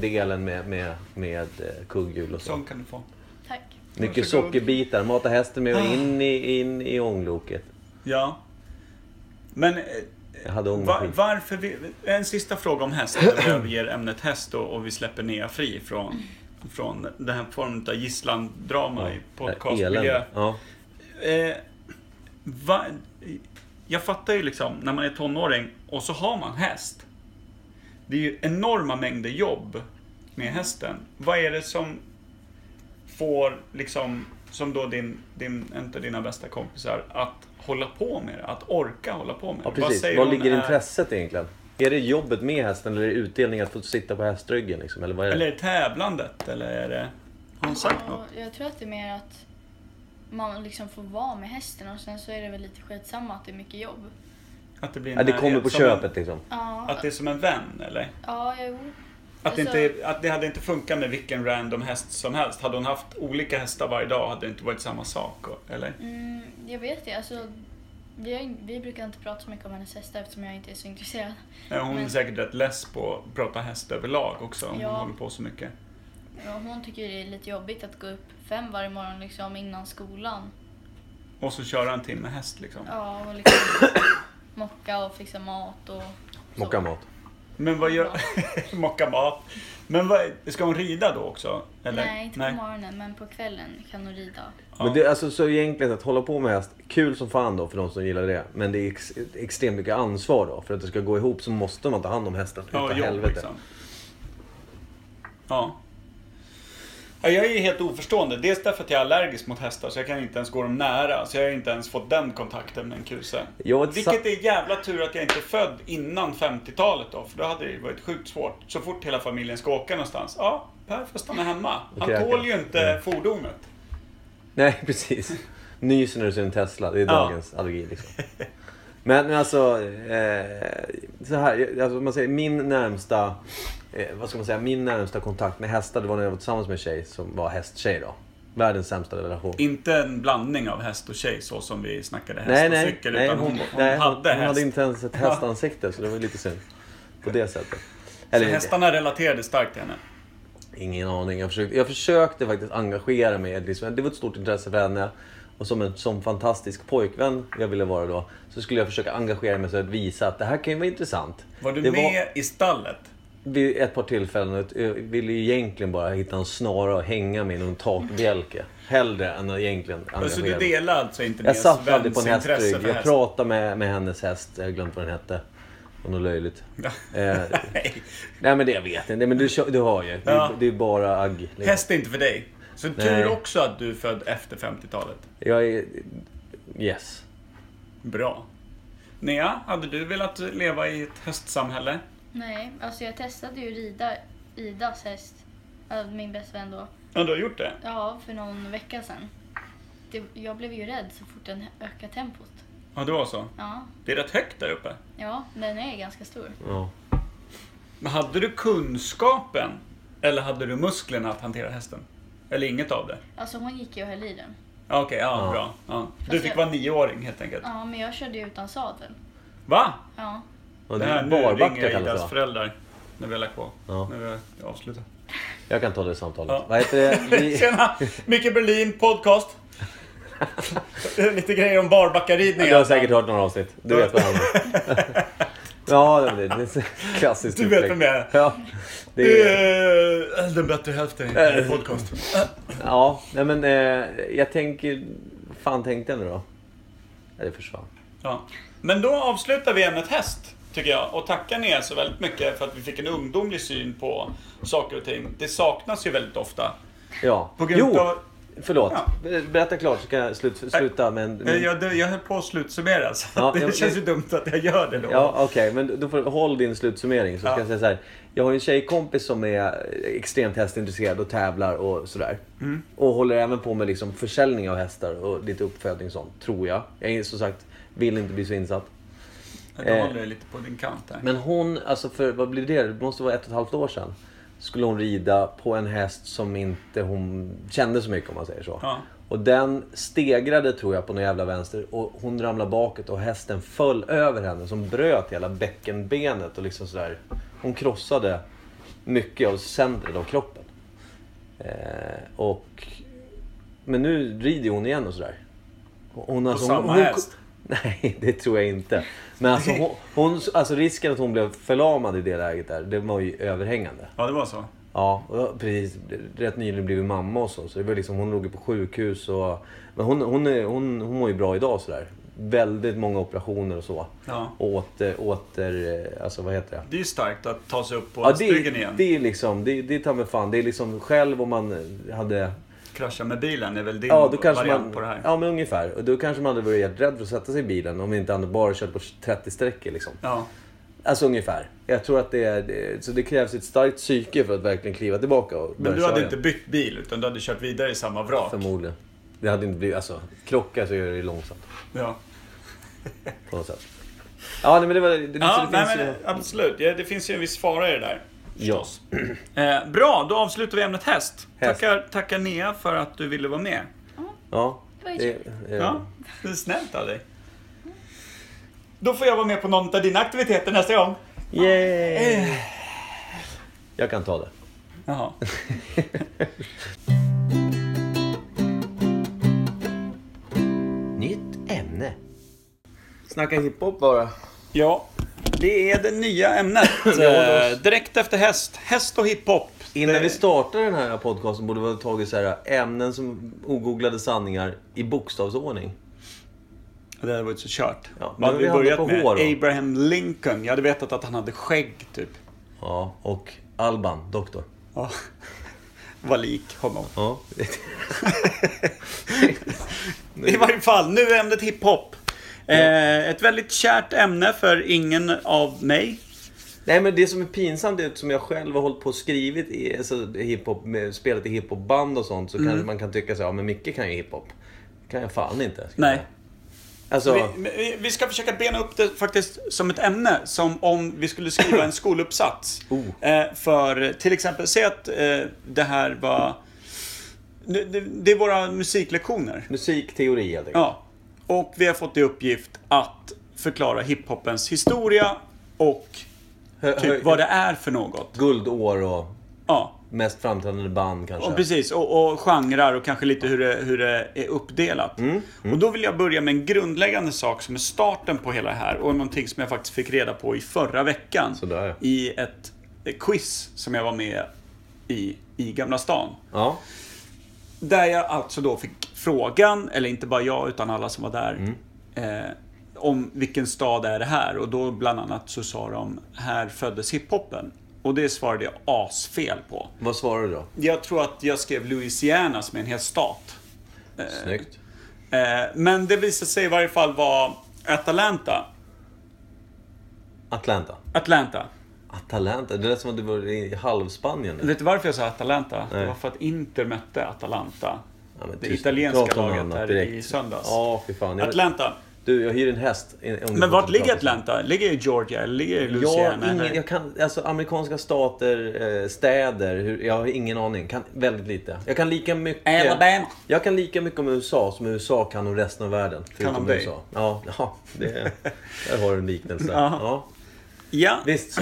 delen med, med, med eh, kugghjul och så.
Sån kan du få.
Tack.
Mycket
Varsågod.
sockerbitar. Mata hästen med och
Ah.
in i, in i ångloket.
Ja. Men eh,
Jag hade
va,
ångmaskin.
varför... Vi, en sista fråga om häst. innan Vi överger ämnet häst och, och vi släpper Nea fri från, från den här formen av gisslandrama i podcastmiljö.
Elände. Ja.
Eh, va, jag fattar ju liksom, när man är tonåring och så har man häst. Det är ju enorma mängder jobb med hästen. Vad är det som får, liksom, som då din, din, en av dina bästa kompisar, att hålla på med det? Att orka hålla på med det?
ja, precis.
säger
Var
hon
ligger
är-
intresset egentligen? Är det jobbet med hästen eller är det utdelningen att få sitta på hästryggen? Liksom? Eller vad är det?
Eller är det tävlandet? Eller är det... Har hon sagt något?
Ja, Jag tror att det är mer att man liksom får vara med hästen och sen så är det väl lite skitsamma att det är mycket jobb.
Att det, blir en
Ja, det
närhet,
kommer på
som en-
köpet liksom.
Ja,
Att det är som en vän, eller?
ja jo.
Att det,
Alltså-
inte, är- att det hade inte funkat med vilken random häst som helst. Hade hon haft olika hästar varje dag hade det inte varit samma sak. och- Eller?
Mm, jag vet det. Alltså, vi, har, in- vi brukar inte prata så mycket om hennes hästar eftersom jag inte är så intresserad.
Nej, Hon är
Men-
säkert rätt less på att prata häst överlag också. om
Ja.
Hon håller på så mycket.
Ja, Hon tycker det är lite jobbigt att gå upp fem varje morgon liksom innan skolan.
Och så köra en timme häst liksom.
Ja, och liksom mocka och fixa mat och så.
Mocka mat.
Men vad gör... Mocka mat. Men vad, ska hon rida då också? Eller?
Nej, inte på morgonen men på kvällen kan hon rida.
Ja.
Men det, alltså, så egentligen att hålla på med häst, kul som fan då för de som gillar det. Men det är ex, extremt mycket ansvar då. För att det ska gå ihop så måste man ta hand om hästen.
Ja,
utav
jobb liksom. Ja. Ja, Jag är ju helt oförstående. Dels därför att jag är allergisk mot hästar så jag kan inte ens gå dem nära. Så jag har inte ens fått den kontakten med en kuse.
Jag har ett sa-
Vilket är jävla tur att jag inte är född innan 50-talet då. För då hade det ju varit sjukt svårt. Så fort hela familjen ska åka någonstans. Ja, Per får stanna hemma. Han
kräker.
tål ju
Mm.
inte fordonet.
Nej, precis. Nyser när du ser en Tesla. Det är
Ja.
dagens allergi. Liksom. Men, men alltså, eh, så här, alltså om man säger, min närmsta eh, vad ska man säga, min närmsta kontakt med hästar det var när jag var tillsammans med en tjej som var hästtjej. Då. Världens sämsta relation.
Inte en blandning av häst och tjej så som vi snackade häst
nej,
och
nej,
cykel.
nej,
utan hon,
hon,
hon,
nej,
hade
hon, hon
häst.
hade inte ens ett hästansikte så det var lite synd. På det sättet. Eller,
Så hästarna relaterade starkt till henne.
Ingen aning. Jag försökte, jag försökte faktiskt engagera mig. Liksom. Det var ett stort intresse för henne. Och som en som fantastisk pojkvän jag ville vara då, så skulle jag försöka engagera mig så att visa att det här kan ju vara intressant.
Var du
det
med i stallet?
Var, vid ett par tillfällen. och Jag ville ju egentligen bara hitta en snara och hänga mig i någon takbjälke. Hellre än att egentligen engagera
Så du
mig.
delar alltså inte
Jag
Nias
satt aldrig på
väns
en
intresse
hästrygg.
för
Jag
häst?
pratade med, med hennes häst. Jag har glömt vad den hette. Och något löjligt. eh,
Nej,
nej men det jag vet inte. Men du, kör- du hör ju. Det,
Ja.
är det är bara agg. liksom.
Häst är inte för dig. Så tur
Nej.
också att du är född efter 50-talet.
Jag är... Yes.
Bra. Nea, hade du velat leva i ett hästsamhälle?
Nej, alltså jag testade ju rida Idas häst, äh, min bästa vän då,
Ja, du har gjort det.
ja, för någon vecka sedan. Det, jag blev ju rädd så fort den ökade tempot.
Ja, det var så.
Ja,
Det är rätt högt där uppe.
ja, den är ganska stor.
Ja.
Men hade du kunskapen? Eller hade du musklerna att hantera hästen? Eller inget av det?
Alltså hon gick ju och höll i den.
Ja, Okej, ja,
Ja.
bra. Ja. Du
Fast
fick
jag-
vara nioåring helt enkelt.
Ja, men jag körde ju utan sadel.
Va?
Ja,
Och
Det
det
här,
är
nu ringer
barbacka
jag
kallas det
Idas
va?
föräldrar. När vi har lagt på.
Ja.
När vi har avslutat.
Jag kan ta det samtalet.
Ja.
Vad heter det? Vi...
Tjena! Micke Berlin, podcast. Lite grejer om barbackaridning.
Du har säkert hört några avsnitt. Du vet vad han Ja, det blir- det är ett klassiskt
Du vet
upplägg.
vem jag är.
Ja, det är...
Eh, Den bättre hälften i
Eh.
podcast.
ja nej, men eh, jag tänker... fan tänkte jag nu då? Nej, det försvann.
Ja. Men då avslutar vi ämnet häst. tycker jag. Och tacka ni så väldigt mycket för att vi fick en ungdomlig syn på saker och ting. Det saknas ju väldigt ofta.
Ja.
På grund
jo,
av-
förlåt.
Ja.
Ber- Berätta klart så kan jag slut, sluta med en...
Eh,
Med... Ja,
Jag, jag höll på att slutsummera så
Ja,
det
jag-
känns ju dumt att jag gör det då.
okej. Men då får du håll din slutsummering. Så
Ja.
ska jag säga så här. Jag har ju en tjejkompis som är extremt hästintresserad och tävlar och sådär.
Mm.
Och håller även på med liksom försäljning av hästar och lite uppfödning och sånt, tror jag. Jag är som sagt, vill inte bli så insatt.
Då håller jag lite på din kant här.
eh. Men hon, alltså för vad blir det? Det måste vara ett och ett halvt år sedan. Skulle hon rida på en häst som inte hon kände så mycket om man säger så.
Ja.
Och den stegrade tror jag på någon jävla vänster och hon ramlade bakåt och hästen föll över henne som bröt hela bäckenbenet och liksom sådär. Hon krossade mycket av centret av kroppen. Eh, och... Men nu rider hon igen och sådär. Hon, alltså,
samma
hon, hon,
häst?
Nej, det tror jag inte. Men alltså, hon, hon, alltså risken att hon blev förlamad i det läget där, det var ju överhängande.
Ja, det var så.
Ja, och jag har precis. Rätt nyligen blivit mamma och så. så det var liksom, hon låg ju på sjukhus och... Men hon, hon, är, hon, hon mår ju bra idag sådär. Väldigt många operationer och så.
Ja.
Och åter, åter... eh, Alltså vad heter det?
Det är ju starkt att ta sig upp på
Ja, det,
stegen igen.
det är liksom, det, det tar mig fan. Det är liksom själv om man hade...
Krascha med bilen är väl din
Ja, då kanske
variant
man,
på det här?
ja men ungefär. Och då kanske man hade varit helt rädd för att sätta sig i bilen om inte han bara kört på 30 sträckor liksom.
Ja.
Alltså ungefär. Jag tror att det är... det- Så det krävs ett starkt psyke för att verkligen kliva tillbaka och
Men
börja
du hade
köra
inte
igen.
bytt bil utan du hade kört vidare i samma vrak?
Förmodligen. Det hade inte blivit... Alltså, krockar så gör det långsamt
Ja,
på något sätt. Ja, nej, men det var... Det, det,
ja
det
nej,
finns
men,
ju-
absolut. Ja, det finns ju en viss fara i det där.
Ja.
Förstås. Eh, bra, då avslutar vi ämnet häst.
Häst.
Tackar, tackar Nea för att du ville vara med.
Ja.
var ju
eh,
Ja, det är snällt av dig. Då får jag vara med på någon av dina aktiviteter nästa gång.
Yay! Jag kan ta det.
Jaha.
Nytt ämne. Snacka hiphop bara.
Ja, det är det nya ämnet. Eh, Direkt efter häst. Häst och hiphop.
Innan
Det-
vi startar den här podcasten borde vi ha tagit så här, ämnen som ogooglade sanningar i bokstavsordning.
Det hade varit så kört.
Ja, men
Vad hade
vi
vi
hamnar
börjat
på
med?
H då.
Abraham Lincoln. Jag hade vetat att han hade skägg, typ.
Ja, och Alban, doktor.
Ja. Var lik honom.
Ja.
I varje fall, nu är ämnet hiphop. Eh, ett väldigt kärt ämne för ingen av mig.
Nej men det som är pinsamt är att som jag själv har hållit på och skrivit i, alltså, hiphop, med, spelat i hiphopband och sånt så kanske man kan tycka så här, ja men Micke kan ju hiphop. kan jag fan inte. ska jag
Nej.
säga. Alltså,
Vi, vi- vi ska försöka bena upp det faktiskt som ett ämne, som om vi skulle skriva en skoluppsats.
Oh.
Eh, för till exempel, säg att eh, det här var... Det, det, det är våra musiklektioner.
musikteori helt enkelt.
Ja. Och vi har fått i uppgift att förklara hiphopens historia och
Hö- hö-
typ vad det är för något.
Guldår och
Ja.
mest framträdande band kanske.
Och precis, och, och genrer och kanske lite hur det, hur det är uppdelat. Och då vill jag börja med en grundläggande sak som är starten på hela det här och någonting som jag faktiskt fick reda på i förra veckan.
Sådär.
I ett ett quiz som jag var med i, i Gamla stan.
Ja.
Där jag alltså då fick frågan, eller inte bara jag utan alla som var där,
Mm.
eh, om vilken stad är det här? Och då bland annat så sa de, här föddes hiphopen. Och det svarade jag asfel på.
Vad svarar du då?
Jag tror att jag skrev Louisiana som är en hel stat.
Snyggt.
Eh, men det visade sig i varje fall vara Atlanta.
Atlanta.
Atlanta.
Atalanta? Det lät som att du var i halvspanien. nu.
Vet du varför jag sa Atalanta? Det
Nej.
var för att Inter mötte Atalanta.
Ja, men
det
tyst.
italienska
Prata om
laget
annat
där
direkt.
i söndags.
Ja, fy fan. Jag,
Atlanta.
Du, jag hyr en häst. in- om du
Men vart
fortsätter
ligger
prata.
Atlanta? Ligger det i Georgia? eller Ligger det i
Jag,
Louisiana?
har ingen,
eller?
jag kan, alltså amerikanska stater, eh, städer, hur, jag har ingen aning. Kan väldigt lite. Jag kan lika mycket...
Alabama.
Jag kan lika mycket om USA som USA kan om resten av världen. förutom
om dig?
USA. Ja, ja det, där har du en liknelse.
Ja.
Ja,
Ja,
visst så.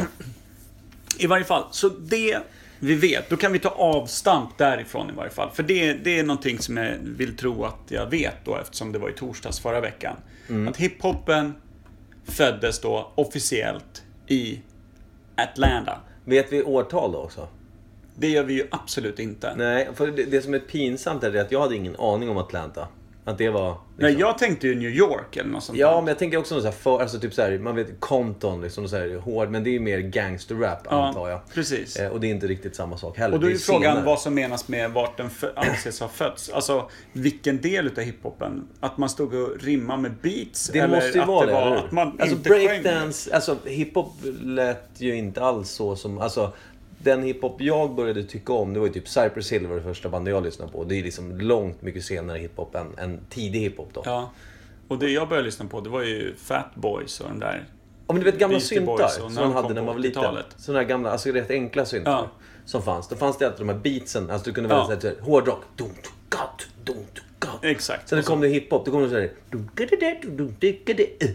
i varje fall. Så det vi vet, då kan vi ta avstamp därifrån i varje fall. För det, det är någonting som jag vill tro att jag vet då eftersom det var i torsdags förra veckan.
Mm.
Att hiphopen föddes då officiellt i Atlanta.
Vet vi årtal då också?
Det gör vi ju absolut inte.
Nej, för det, det som är pinsamt är det att jag hade ingen aning om Atlanta. Att det var...
Nej,
liksom-
jag tänkte ju New York eller något sånt
Ja,
där.
men jag tänker också så här, för, alltså typ så här, man vet Compton liksom, så här, hård, men det är ju mer gangsterrap antar jag.
precis.
Eh, och det är inte riktigt samma sak heller.
Och då är
Det
ju frågan
senare.
vad som menas med vart den fö- anses ha fötts. Alltså vilken del utav hiphopen? Att man stod och rimmade med beats?
Det
eller
måste ju
att
vara
det
det,
var
eller hur?
att man
Alltså
inte sjöng?
breakdance, alltså hiphop lät ju inte alls så som, alltså den hiphop jag började tycka om, det var ju typ Cypress Hill var det första bandet jag lyssnade på. Det är liksom långt mycket senare hiphop än, än tidig hiphop då.
Ja. Och det jag började lyssna på det var ju Fat Boys och de där.
Ja men du vet gamla
Beastie Boys
syntar
och
som
när
man
de kom
hade när
på
man var liten.
80-talet.
Sådana här gamla, alltså rätt enkla syntar
Ja.
som fanns. Då fanns det alltid de här beatsen, alltså du kunde
Ja.
välja ja. såhär hårdrock. Dum, dum, gat, dum, dum, gat.
Exakt.
Sen
Och så-
kom det hiphop, då kom det såhär...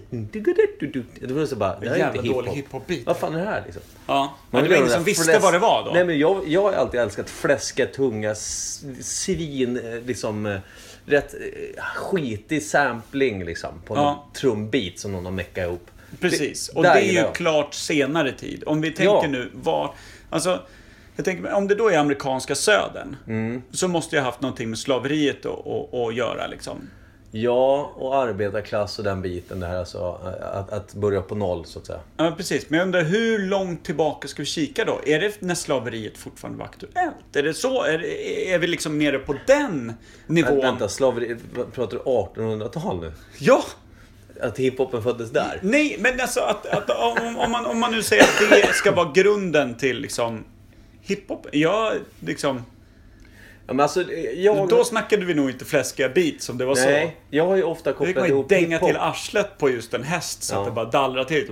Det var så bara, det här är
Jävla
inte
dålig
hiphop.
hiphop-beat.
Vad fan är det här liksom?
Ja.
Man
Men det
vill
var
ha
ingen
den
som
där
visste
fläsk-
vad det var då.
Nej men jag, jag har alltid älskat fläska, tunga, s- svin, eh, liksom eh, rätt eh, skitig sampling liksom. På
Ja.
någon trumbeat som någon har meckat ihop.
Precis, och det
där
är
gillar
ju
jag.
klart senare tid. Om vi tänker
Ja.
nu var... Alltså, jag tänker, om det då är amerikanska södern
Mm.
så måste jag haft någonting med slaveriet att- att att göra. Liksom.
Ja, och arbetarklass och den biten där alltså. Att, att börja på noll så att säga.
Ja, men precis. Men jag undrar hur långt tillbaka ska vi kika då? Är det när slaveriet fortfarande var aktuellt? Är det så? Är, är vi liksom nere på den nivån?
Vä- Vänta, slaveri, vad- pratar du 1800-tal nu?
Ja!
Att hiphopen föddes där?
Nej, men alltså att, att, om, om, man, om man nu säger att det ska vara grunden till liksom hiphop. Ja, liksom.
Ja, men alltså, jag...
Då snackade vi nog inte fläskiga beats om det var så.
Nej, jag har ju ofta
Då fick
kopplat
man ju
ihop
dänga
hiphop...
till arslet på just en häst så
Ja.
att det bara dallrar till.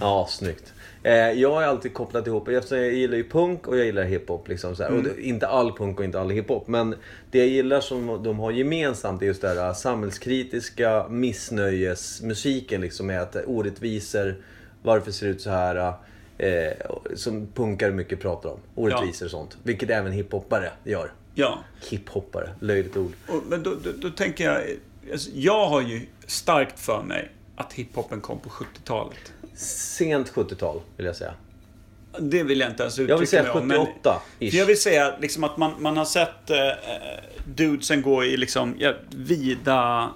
Ja, snyggt. Eh, jag har alltid kopplat ihop, eftersom jag gillar ju punk och jag gillar hiphop. Liksom, så här. Och det, inte all punk och inte all hiphop. Men det jag gillar som de har gemensamt är just det här eh, samhällskritiska missnöjesmusiken. Liksom, med att eh, orättvisor, varför ser det ut så här? Eh, som punkare mycket pratar om. Orättvisor och sånt. Vilket även hiphoppare gör.
Ja,
Hiphoppare, löjligt ord.
och, men då, då, då tänker jag... Alltså, jag har ju starkt för mig att hiphopen kom på 70-talet.
Sent 70-tal vill jag säga.
Det vill jag inte ens uttrycka
Jag vill säga
mig om, men-
78 -ish.
För jag vill säga liksom att man, man har sett eh, eh, dudesen gå i liksom ja, vida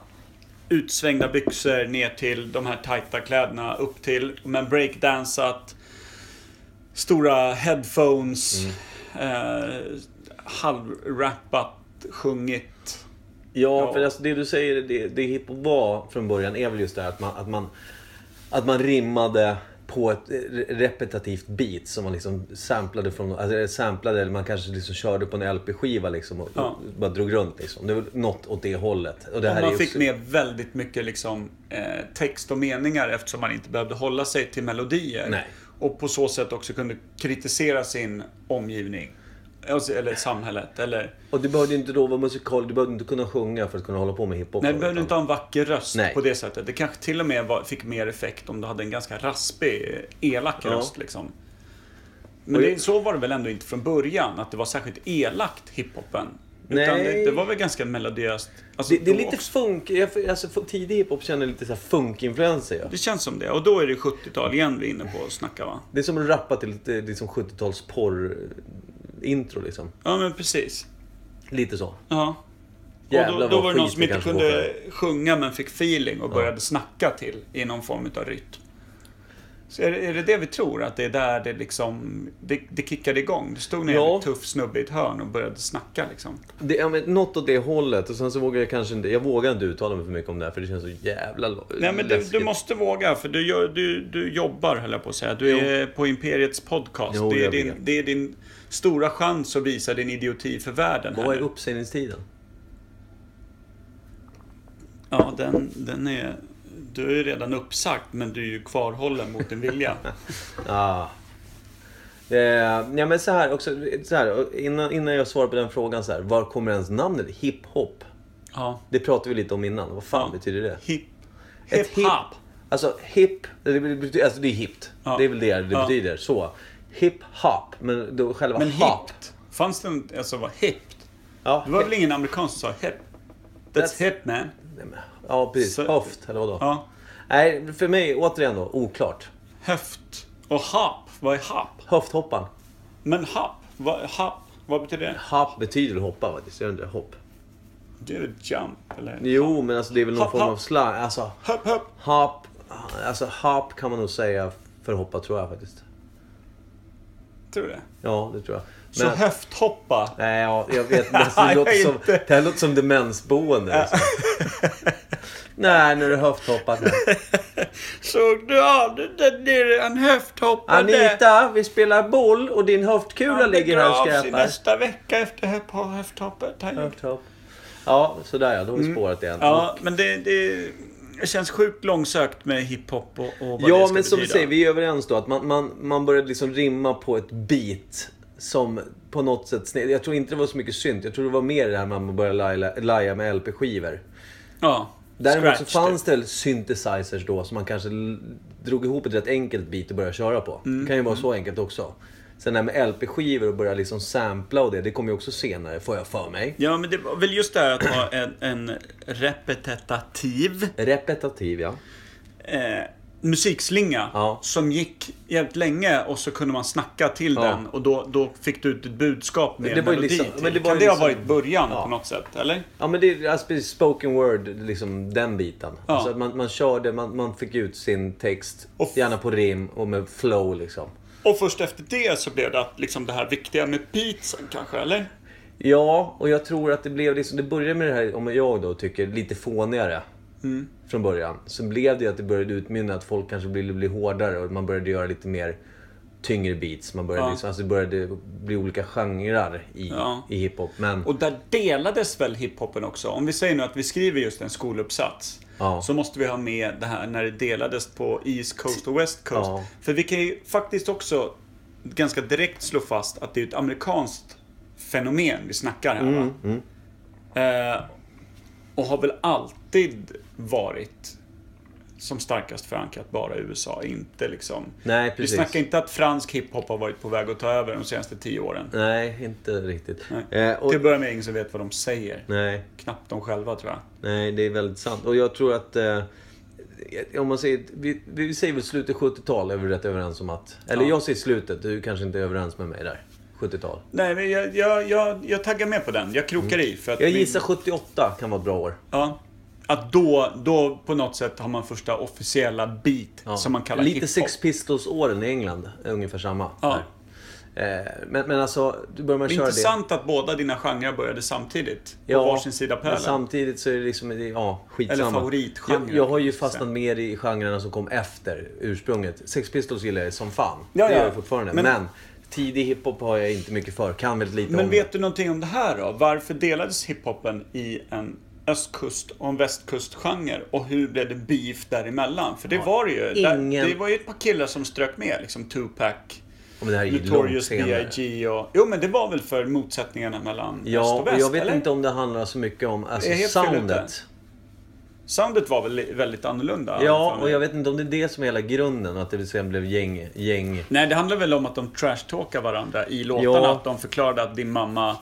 utsvängda byxor ner till de här tajta kläderna upp till men breakdansat stora headphones
Mm.
eh, halvrappat sjungit
Ja,
Ja.
för alltså det du säger, det, det hiphop var från början är väl just det här att man, att man, att man rimmade på ett eh, re- repetitivt beat som man liksom samplade från, alltså eh, samplade eller man kanske liksom körde på en LP-skiva liksom och,
Ja.
och bara drog runt liksom. Det var något åt det hållet. Och det
Och
här är
man
ju
fick
också-
med väldigt mycket liksom, eh, text och meningar eftersom man inte behövde hålla sig till melodier.
Nej.
Och på så sätt också kunde kritisera sin omgivning. Alltså, Eller samhället. Eller,
Och du behövde ju inte då vara musikal, du behövde inte kunna sjunga för att kunna hålla på med hiphop.
nej,
då,
du behövde
utan-
inte ha en vacker röst
Nej.
på det sättet. Det kanske till och med var, fick mer effekt om du hade en ganska raspig, eh, elak
Ja.
röst. Liksom. Men
Och
det,
jag-
så var det väl ändå inte från början, att det var särskilt elakt, hiphopen. Utan
Nej.
det, det var väl ganska melodiöst. Alltså,
det, det är
då
lite
också.
funk, jag- alltså f- tidig hiphop känner lite så här funk-influenser ja.
Det känns som det. Och då är det 70-tal igen vi är inne på och snackar va?
Det är som att rappa till lite liksom 70-tals porr-intro liksom.
Ja men precis.
Lite så.
Ja.
Jävlar
och då, då
vad
var det någon
skit
som
det
inte
kanske var
kunde
för
sjunga men fick feeling och började snacka till i någon form av rytm. Så är det, är det det vi tror? Att det är där det liksom... Det, det kickade igång? Det stod ner
Ja.
en tuff snubbe i ett hörn och började snacka liksom.
Det, ja, men något åt det hållet. Och sen så vågar jag kanske inte... Jag vågar inte uttala mig för mycket om det här för det känns så jävla lo-
Nej men du,
läskigt.
du måste våga för du, gör, du, du jobbar höll jag på att säga. Du är på Imperiets podcast.
Jo,
det, är
jag
din,
vet.
det är din stora chans att visa din idioti för världen. här
Vad är
nu.
uppsägningstiden?
Ja, den, den är... Du är ju redan uppsagt, men du är ju kvarhållen mot din vilja.
Ah. Eh, ja, men så här, också, så här innan, innan jag svarar på den frågan så här. Var kommer ens namnet hiphop?
Ja.
Det pratade vi lite om innan. Vad fan
Ja.
betyder det?
Hip.
Ett
Hip hop.
Alltså hip, det, betyder, alltså det är hippt.
Ja.
Det är väl det det
Ja.
betyder. Så. Hip-hop, men då själva
Men
hop.
hippt. Fanns det en, alltså vad hippt?
Ja,
Det var
hip-
väl ingen amerikan som sa hip? That's,
That's-
hip man.
Nej, men- Ja, precis.
Så-
Höft, eller vadå?
Ja.
Nej, för mig återigen då, oklart.
Höft. Och hop. Vad är hop?
Höfthopparen.
Men hop. Vad, hop. Vad betyder det?
Hopp betyder väl hoppa faktiskt, gör det inte det? Hopp.
Det är väl jump, eller?
Jo, men alltså det är väl någon
Hopp,
form
hopp.
av slang. Alltså,
Hopp, hopp.
hop. Alltså, hop kan man nog säga för hoppa, tror jag faktiskt.
Tror du det?
Ja, det tror jag.
Så
Men-
höfthoppa.
Nej, ja, jag vet men alltså, det,
Nej,
låter som,
inte.
det här låter som demensboende. Alltså. Nej, nu är det höfthoppat. här.
Såg du av det där nere? Han höfthoppade.
Anita, vi spelar boll och din höftkula
Han
ligger här och
begravs i
skräpar.
nästa vecka efter höf- höfthoppet. Han gjorde.
Höfthopp. Ja, sådär ja. Då har vi spårat igen.
Mm. Ja, men det, det känns sjukt långsökt med hiphop och, och vad det
Ja,
ska
men som vi
betyda.
säger, vi är överens då. Att man, man, man började liksom rimma på ett beat som på något sätt sned. Jag tror inte det var så mycket synt. Jag tror det var mer det här med att man började laja, laja med LP-skivor.
Ja.
Däremot så
scratch
fanns det väl synthesizers då som man kanske l- drog ihop ett rätt enkelt beat och började köra på.
Mm.
Det kan ju vara så enkelt också. Sen det här med LP-skivor och börja liksom sampla och det, det kom ju också senare får jag för mig.
Ja, men det var väl just det här att ha en, en repetitiv
Repetitiv ja.
eh, musikslinga
Ja.
som gick jävligt länge och så kunde man snacka till
Ja.
den och då, då fick du ut ett budskap med
det
en
var ju
melodi
liksom-
till.
men det var
Kan
ju
det ha
liksom-
varit början
Ja.
på något sätt, eller?
Ja men det är alltså, precis, spoken word, liksom den biten.
Ja.
Alltså att man, man körde, man, man fick ut sin text,
Och f-
gärna på rim och med flow liksom.
Och först efter det så blev det att liksom det här viktiga med beatsen kanske, eller?
Ja, och jag tror att det blev liksom, det började med det här, om jag då tycker, lite fånigare. Från början. Sen blev det ju att det började utmynna att folk kanske ville bli hårdare och man började göra lite mer tyngre beats. Man började
Ja.
liksom, alltså det började bli olika genrer i,
Ja.
i hiphop. Men
Och där delades väl hiphopen också? Om vi säger nu att vi skriver just en skoluppsats.
Ja.
Så måste vi ha med det här när det delades på East Coast och West Coast.
Ja.
För vi kan ju faktiskt också ganska direkt slå fast att det är ett amerikanskt fenomen vi snackar här
Mm,
va? Eh, och har väl alltid varit som starkast förankrat bara i USA, inte liksom...
Nej,
vi
precis.
snackar inte att fransk hiphop har varit på väg att ta över de senaste tio åren.
nej, inte riktigt.
Nej.
Eh, och,
Till att börja med ingen som vet vad de säger.
nej,
Knappt de själva tror jag.
nej, det är väldigt sant. Och jag tror att... Eh, om man säger, vi, vi säger väl slutet 70-tal, är vi rätt överens om att... Eller
Ja.
jag säger slutet, du kanske inte är överens med mig där. 70-tal.
Nej, men jag, jag, jag, jag taggar med på den. Jag krokar i. För att
Mm. Jag
vi-
gissar 78 kan vara ett bra år.
Ja. Att då, då på något sätt har man första officiella beat
Ja.
som man kallar
Lite
hiphop.
Sex Pistols-åren i England. är Ungefär samma.
Ja.
Eh, Men, men alltså, du börjar man
Det är
köra det.
intressant att båda dina genrer började samtidigt. På varsin sida
men
pölen.
samtidigt så är det liksom, det- ja, skitsamma.
Eller favoritgenre,
Jag, jag har ju
kan man
fastnat
säga.
mer i genrerna som kom efter ursprunget. Sex Pistols gillar jag som fan.
Ja,
det
ja.
gör jag fortfarande.
Men-
Men, tidig hiphop har jag inte mycket för. Kan väldigt lite
Men
om
vet du någonting om det här då? Varför delades hiphopen i en östkust och en västkustgenre? Och hur blev det beef däremellan? För det var det ju.
ingen-
Där, det var ju ett par killar som strök med liksom. Tupac.
om det här är ju långt
Notorious
senare.
B.I.G. och... Jo men det var väl för motsättningarna mellan öst
Ja,
och
och
väst?
jag vet
eller?
inte om det handlar så mycket om alltså,
Jag är helt fel ute.
soundet.
Soundet var väl väldigt annorlunda?
Ja,
för mig.
och jag vet inte om det är det som är hela grunden. Att det sen blev gäng, gäng
Nej, det handlar väl om att de trashtalkar varandra i låtarna.
Ja.
Att de förklarade att din mamma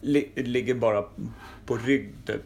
li- ligger bara på rygg. typ.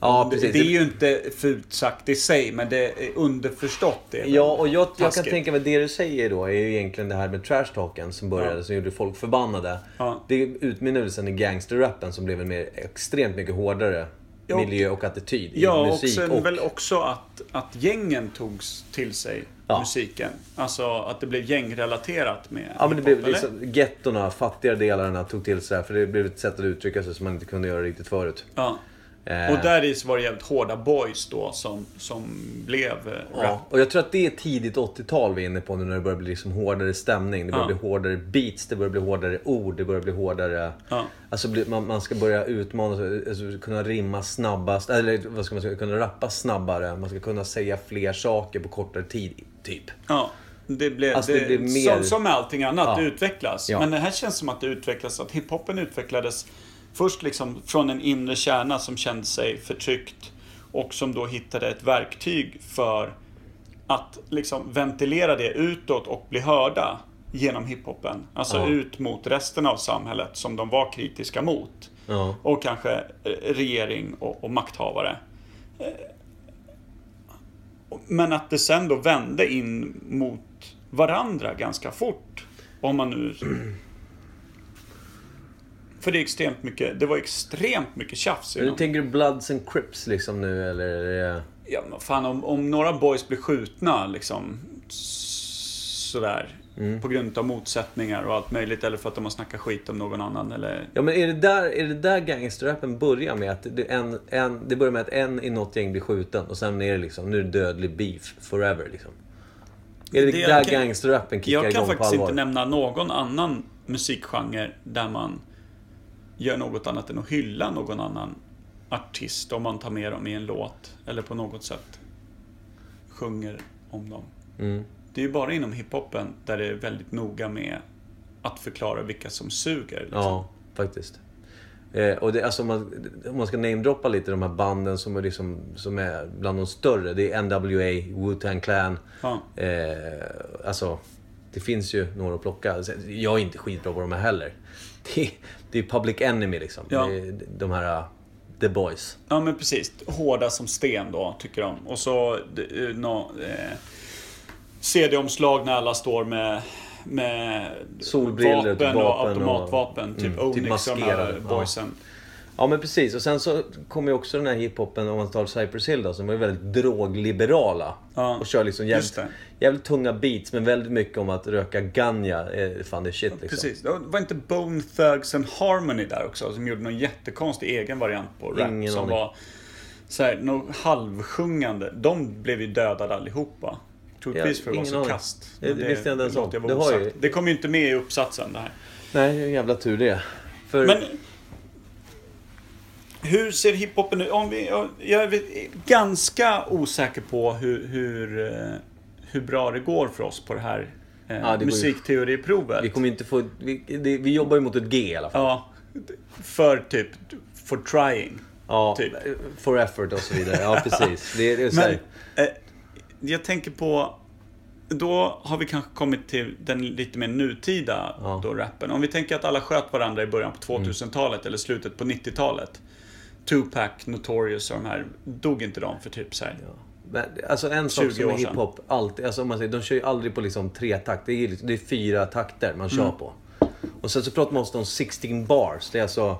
Ja,
det,
precis.
det är ju inte fult sagt i sig, men det är underförstått. Det är väl
Ja, och jag, jag kan
taskigt.
tänka mig att det du säger då är ju egentligen det här med trashtalken som började,
Ja.
som gjorde folk förbannade.
Ja.
Det utmynnade sen i gangsterrappen som blev en mer, extremt mycket hårdare
Ja, och-
miljö och attityd i
Ja, och
musik.
sen
och,
väl också att, att gängen togs till sig
Ja.
musiken. Alltså att det blev gängrelaterat med
ja, men det
hiphop,
blev
eller?
liksom, gettorna, fattigare delarna tog till sig det här, för det blev ett sätt att uttrycka sig som man inte kunde göra riktigt förut.
Ja.
Eh,
Och där i så var det jävligt hårda boys då som, som blev eh, rap.
Ja, och jag tror att det är tidigt 80-tal vi är inne på nu när det börjar bli liksom hårdare stämning. Det börjar
Ja.
bli hårdare beats, det börjar bli hårdare ord, det börjar bli hårdare...
Ja.
Alltså bli- man, man ska börja utmana sig, alltså, kunna rimma snabbast, eller vad ska man säga, kunna rappa snabbare. Man ska kunna säga fler saker på kortare tid, typ.
Ja. Det blev,
Alltså,
det,
det blev mer-
som, som med allting annat,
Ja.
det utvecklas.
Ja.
Men det här känns som att det utvecklas, att hiphopen utvecklades först liksom från en inre kärna som kände sig förtryckt och som då hittade ett verktyg för att liksom ventilera det utåt och bli hörda genom hiphopen. Alltså
Ja.
ut mot resten av samhället som de var kritiska mot.
Ja.
Och kanske eh, regering och, och makthavare. Eh, Men att det sen då vände in mot varandra ganska fort. Om man nu För det, är extremt mycket, det var extremt mycket tjafs.
Eller
Inom.
tänker du Bloods and Crips liksom nu eller? Är det...
Ja, men fan, om, om några boys blir skjutna liksom s- sådär. På grund av motsättningar och allt möjligt. Eller för att de har snackat skit om någon annan. Eller...
Ja men är det där, är det där gangsterrappen börjar med? Att det, en, en, det börjar med att en i något gäng blir skjuten och sen är det liksom, nu är det dödlig beef forever liksom. Är det,
Det-
där
jag kan-
gangsterrappen kickar
Jag kan
igång på
faktiskt
allvar?
inte nämna någon annan musikgenre där man gör något annat än att hylla någon annan artist om man tar med dem i en låt eller på något sätt sjunger om dem.
Mm.
Det är ju bara inom hiphopen där det är väldigt noga med att förklara vilka som suger. Liksom.
Ja, faktiskt. Eh, och det, alltså, om, man, om man ska namedroppa lite de här banden som är, liksom, som är bland de större. Det är NWA, Wu-Tang Clan.
Ja.
Eh, alltså, det finns ju några att plocka. Sen, Jag är inte skitbra på de här heller. Det, det är Public Enemy liksom.
Ja.
Det är de här uh, The Boys.
Ja men precis, hårda som sten då tycker de. Och så d- eh, nå- eh, CD-omslag när alla står med, med
Solbrillor,
vapen
vapen
och
och-
automatvapen. Typ
mm, typ
Onyx och de här
maskerade, ja.
boysen.
Ja men precis. Och sen så kommer ju också den här hiphopen, om man tar Cypress Hill då, som var ju väldigt drogliberala.
Ja,
Och kör liksom
just
jävligt,
det.
jävligt tunga beats, men väldigt mycket om att röka ganja. Eh, fan det är shit liksom.
Precis. Det var inte Bone Thugs and Harmony där också? Som gjorde någon jättekonstig egen variant på rap.
Ingen
som
aning.
var så här, någon halvsjungande. De blev ju dödade allihopa. Troligtvis
Ja,
för att vara
ingen
så
aning.
kast.
Det-
Men
det visste jag inte ens om.
låter vara
Det har
osagt.
ju-
det kom ju inte med i uppsatsen det här.
Nej, det är en jävla tur det. För
Men hur ser hiphopen ut? Om vi, jag är ganska osäker på hur, hur, eh, hur bra det går för oss på det här eh,
går ju-
musikteoriprovet.
vi kommer ju inte få... Vi, det, vi jobbar ju mot ett G i alla fall.
Ja, för typ for trying.
Ja,
typ.
For effort och så vidare. Ja, precis. Det, är- det är så
Men
här,
eh, jag tänker på då har vi kanske kommit till den lite mer nutida
Ja. Mm.
då rappen. Om vi tänker att alla sköt varandra i början på 2000-talet eller slutet på 90-talet. Tupac, Notorious och de här. Dog inte de för typ så här?
men, alltså en sak
20
som
år
är
sedan.
hiphop alltid... Alltså, om man säger, de kör ju aldrig på liksom tre takt. Det är, liksom- det är fyra takter man
Mm.
kör på. Och sen så pratar man ofta om 16 bars. Det är alltså...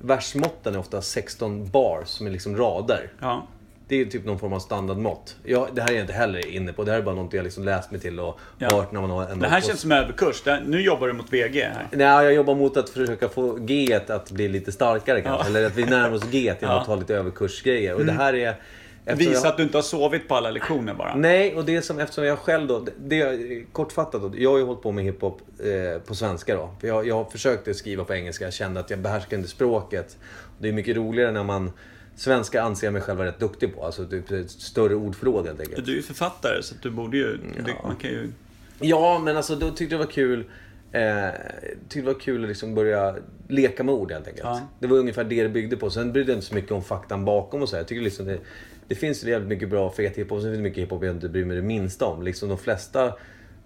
Versmåtten är ofta 16 bars som är liksom rader.
Ja.
Det är typ någon form av standardmått. Ja, det här är jag inte heller inne på. Det här är bara något jag liksom läst mig till och
Ja.
hört när man har en
Det här känns som överkurs. Det här, nu jobbar du mot VG här.
Nej, jag jobbar mot att försöka få G att bli lite starkare kanske.
Ja. Mm.
Eller att vi närmar oss G genom att ta lite överkursgrejer. Och det här är... eftersom
Visa
jag-
att du inte har sovit på alla lektioner bara.
Nej, och det som, eftersom jag själv då, det jag, kortfattat då, jag har ju hållit på med hiphop eh, på svenska då. För jag, jag försökte skriva på engelska, jag kände att jag behärskade inte språket. Det är mycket roligare när man, svenska anser jag mig själv vara rätt duktig på, alltså typ ett större ordförråd helt enkelt.
Du är ju författare så att du borde ju... Det, man kan ju...
Ja, men alltså då tyckte jag det var kul. Eh, tyckte det var kul att liksom börja leka med ord helt enkelt.
Ja.
Det var ungefär det det byggde på. Sen brydde jag inte så mycket om faktan bakom och så. Här. Jag tycker liksom det, det finns jävligt mycket bra fet hiphop och sen finns det mycket hiphop jag inte bryr mig det minsta om. Liksom de flesta,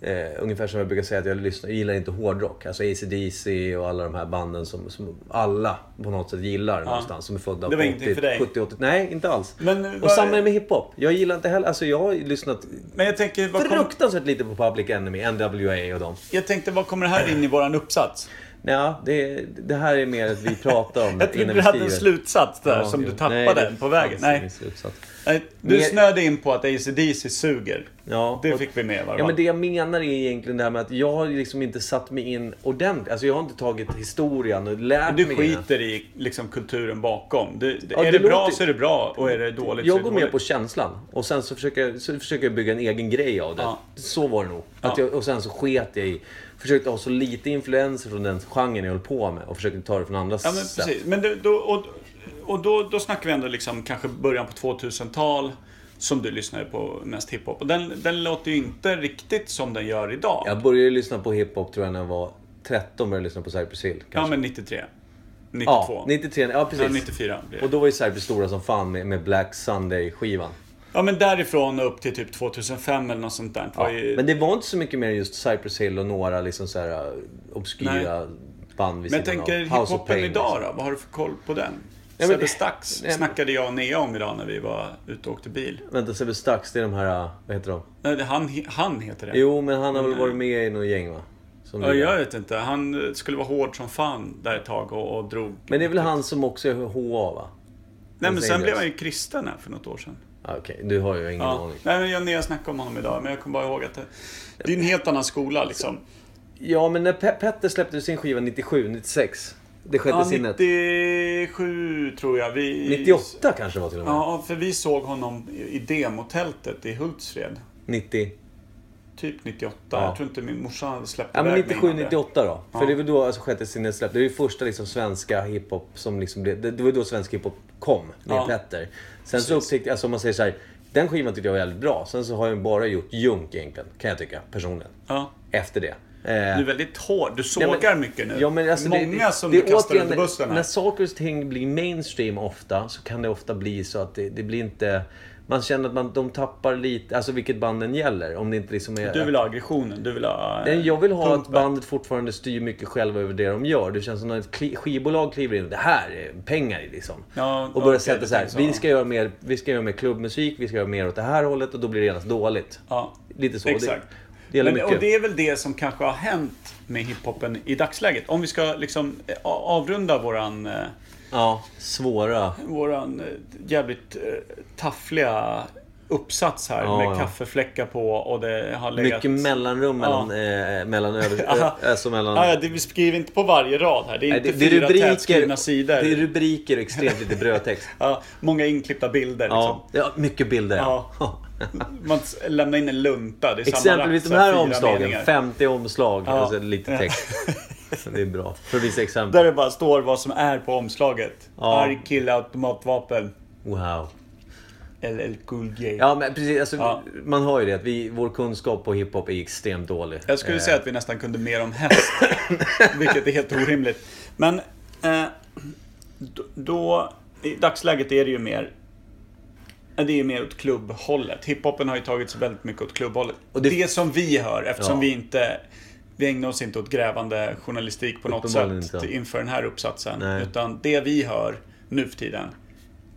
eh, ungefär som jag brukar säga att jag, lyssnar, jag gillar inte hårdrock. Alltså AC/DC och alla de här banden som, som alla på något sätt gillar någonstans. Som är födda
Det var
på
ingenting för dig?
70 80 Nej, inte alls.
Men
och
vad-
samma är med hiphop. Jag gillar inte heller, alltså jag har ju lyssnat
Men jag tänker, vad kom,
fruktansvärt lite på Public Enemy, NWA och dem.
jag tänkte, vad kommer det här in i våran uppsats?
Nja, det, det här är mer att vi pratar om
Jag trodde du hade en slutsats där
Ja,
som
jo.
du tappade
Nej, det
på vägen.
fanns ingen
Nej.
slutsats.
Nej, Du
Mer-
snöade in på att ACDC suger.
Ja,
Det
och-
fick vi med va?
Ja, men det jag menar är egentligen det här med att jag har liksom inte satt mig in ordentligt. Alltså jag har inte tagit historien och lärt
Du
mig
skiter i liksom, kulturen bakom. Du,
Ja,
är det,
det
bra
låter-
så är det bra och är det dåligt så är
Jag
det
går mer
dåligt.
på känslan och sen så försöker, jag- så försöker jag bygga en egen grej av det.
Ja.
Så var det nog.
Ja.
Att jag, och sen så sket jag i, försökte ha så lite influenser från den genren jag höll på med och försökte ta det från andra
Ja, men
sätt.
precis. Men det, då, och och då, då snackar vi ändå liksom kanske början på 2000-tal som du lyssnade på mest hiphop. Och den, den låter ju inte riktigt som den gör idag. Ja,
Jag började lyssna på hiphop tror jag när jag var 13 började jag lyssna på Cypress Hill. Kanske.
men 93. 92.
Ja, 93. Ja,
Ja,
precis.
94 blir det.
Och då var ju Cypress stora som fan med, med Black Sunday-skivan.
Ja men därifrån upp till typ 2005 eller något sånt där. Det var
Ja.
ju...
Men det var inte så mycket mer just Cypress Hill och några liksom så här uh, obskyra band vid
Men jag
sidan av.
tänker
House of
hiphopen
Pain,
idag
liksom.
då? Vad har du för koll på den?
Ja, men-
Sebbe Stax
Nej, men-
snackade jag och Nea om idag när vi var ute och åkte bil.
Vänta, Sebbe Stax, det är de här... uh, Vad heter de?
Nej, det- han, he- han heter det.
Jo, men han har väl
Mm.
varit med i något gäng va? Som
Ja,
du gör.
jag vet inte. Han eh, skulle vara hård som fan där ett tag och, och drog.
Men det är väl han som också är HA va?
Nej, men sen
Angels.
blev han ju kristen här för något år sedan.
Ah, Okej, du har ju ingen
Ja.
aning.
Nej, men jag, när jag snackade om honom idag, men jag kommer bara ihåg att det, det är en helt annan skola liksom.
Ja, men när Pe- Petter släppte sin skiva 97, 96. Det sjätte
Ja,
sinnet.
97 tror jag. Vi,
98 kanske det var till och med.
Ja, för vi såg honom i i demotältet i Hultsfred.
90.
Typ 98.
Ja.
Jag tror inte min morsa släppte
Ja, men
iväg mig
97,
innan det.
98 då.
Ja.
För det är väl då alltså, sjätte sinnet släpptes. Det är ju första liksom, svenska hiphop som liksom blev... Det, det var ju då svensk hiphop kom, med
Ja.
Petter. Sen så
Precis.
upptäckte jag, alltså om man säger så här. Den skivan tyckte jag var jävligt bra. Sen så har jag bara gjort junk egentligen, kan jag tycka personligen.
Ja.
Efter det.
Du
Eh,
är väldigt hård. Du
Ja,
sågar mycket nu.
Ja, men alltså, det-
Många som
det är
du kastar
återigen,
under bussen här.
När saker och ting blir mainstream ofta så kan det ofta bli så att det, det blir inte... Man känner att man, de tappar lite, alltså vilket banden gäller. Om det inte liksom är...
Du vill ha aggressionen. Du vill ha... eh,
Nej, jag vill ha att
pumpen.
bandet fortfarande styr mycket själva över det de gör. Det känns som när ett kli- skivbolag kliver in. Det här är pengar i liksom.
Ja,
och börjar
okej,
sätta
du
så här.
tänker så,
Vi
ja.
ska, göra mer, vi ska göra mer klubbmusik, vi ska göra mer åt det här hållet och då blir det genast dåligt.
Ja.
Lite så.
Exakt.
Det, det gäller
Men, och
mycket.
det är väl det som kanske har hänt med hiphopen i dagsläget. Om vi ska liksom eh, a- avrunda våran, eh,
Ja, svåra.
våran eh, jävligt eh, taffliga uppsats här
Ja,
med
ja.
kaffefläckar på och det har legat...
Mycket mellanrum mellan,
Ja.
eh, mellan, över,
Ja.
eh, alltså mellan
Ah, ja, det, vi skriver inte på varje rad här. Det är
Nej,
inte
det, det, är
fyra
rubriker,
tätskrivna sidor.
det är rubriker och extremt lite brödtext.
Ja, många inklippta bilder.
ja, ja, mycket bilder.
Liksom. Ja. Liksom. Man s- lämnar in en lunta. Det är
Exempelvis
samma
de här
fyra
omslagen,
meningar.
50 omslag,
Ja.
alltså lite text. Det är bra, för vissa exempel.
Där det bara står vad som är på omslaget.
Ja.
Arg kille, automatvapen.
Wow.
LL Cool J.
Ja, men precis, alltså,
Ja.
man hör ju det att vi, vår kunskap på hiphop är extremt dålig.
Jag skulle
Eh,
säga att vi nästan kunde mer om häst. vilket är helt orimligt. Men eh, då, då... I dagsläget är det ju mer... eh, Det är ju mer åt klubbhållet. Hiphopen har ju tagit sig väldigt mycket åt klubbhållet.
Och det-
det, som vi hör, eftersom
Ja.
vi inte... Vi ägnar oss inte åt grävande journalistik på något sätt
Uppenbarligen inte.
inför den här uppsatsen.
Nej.
Utan det vi hör nu för tiden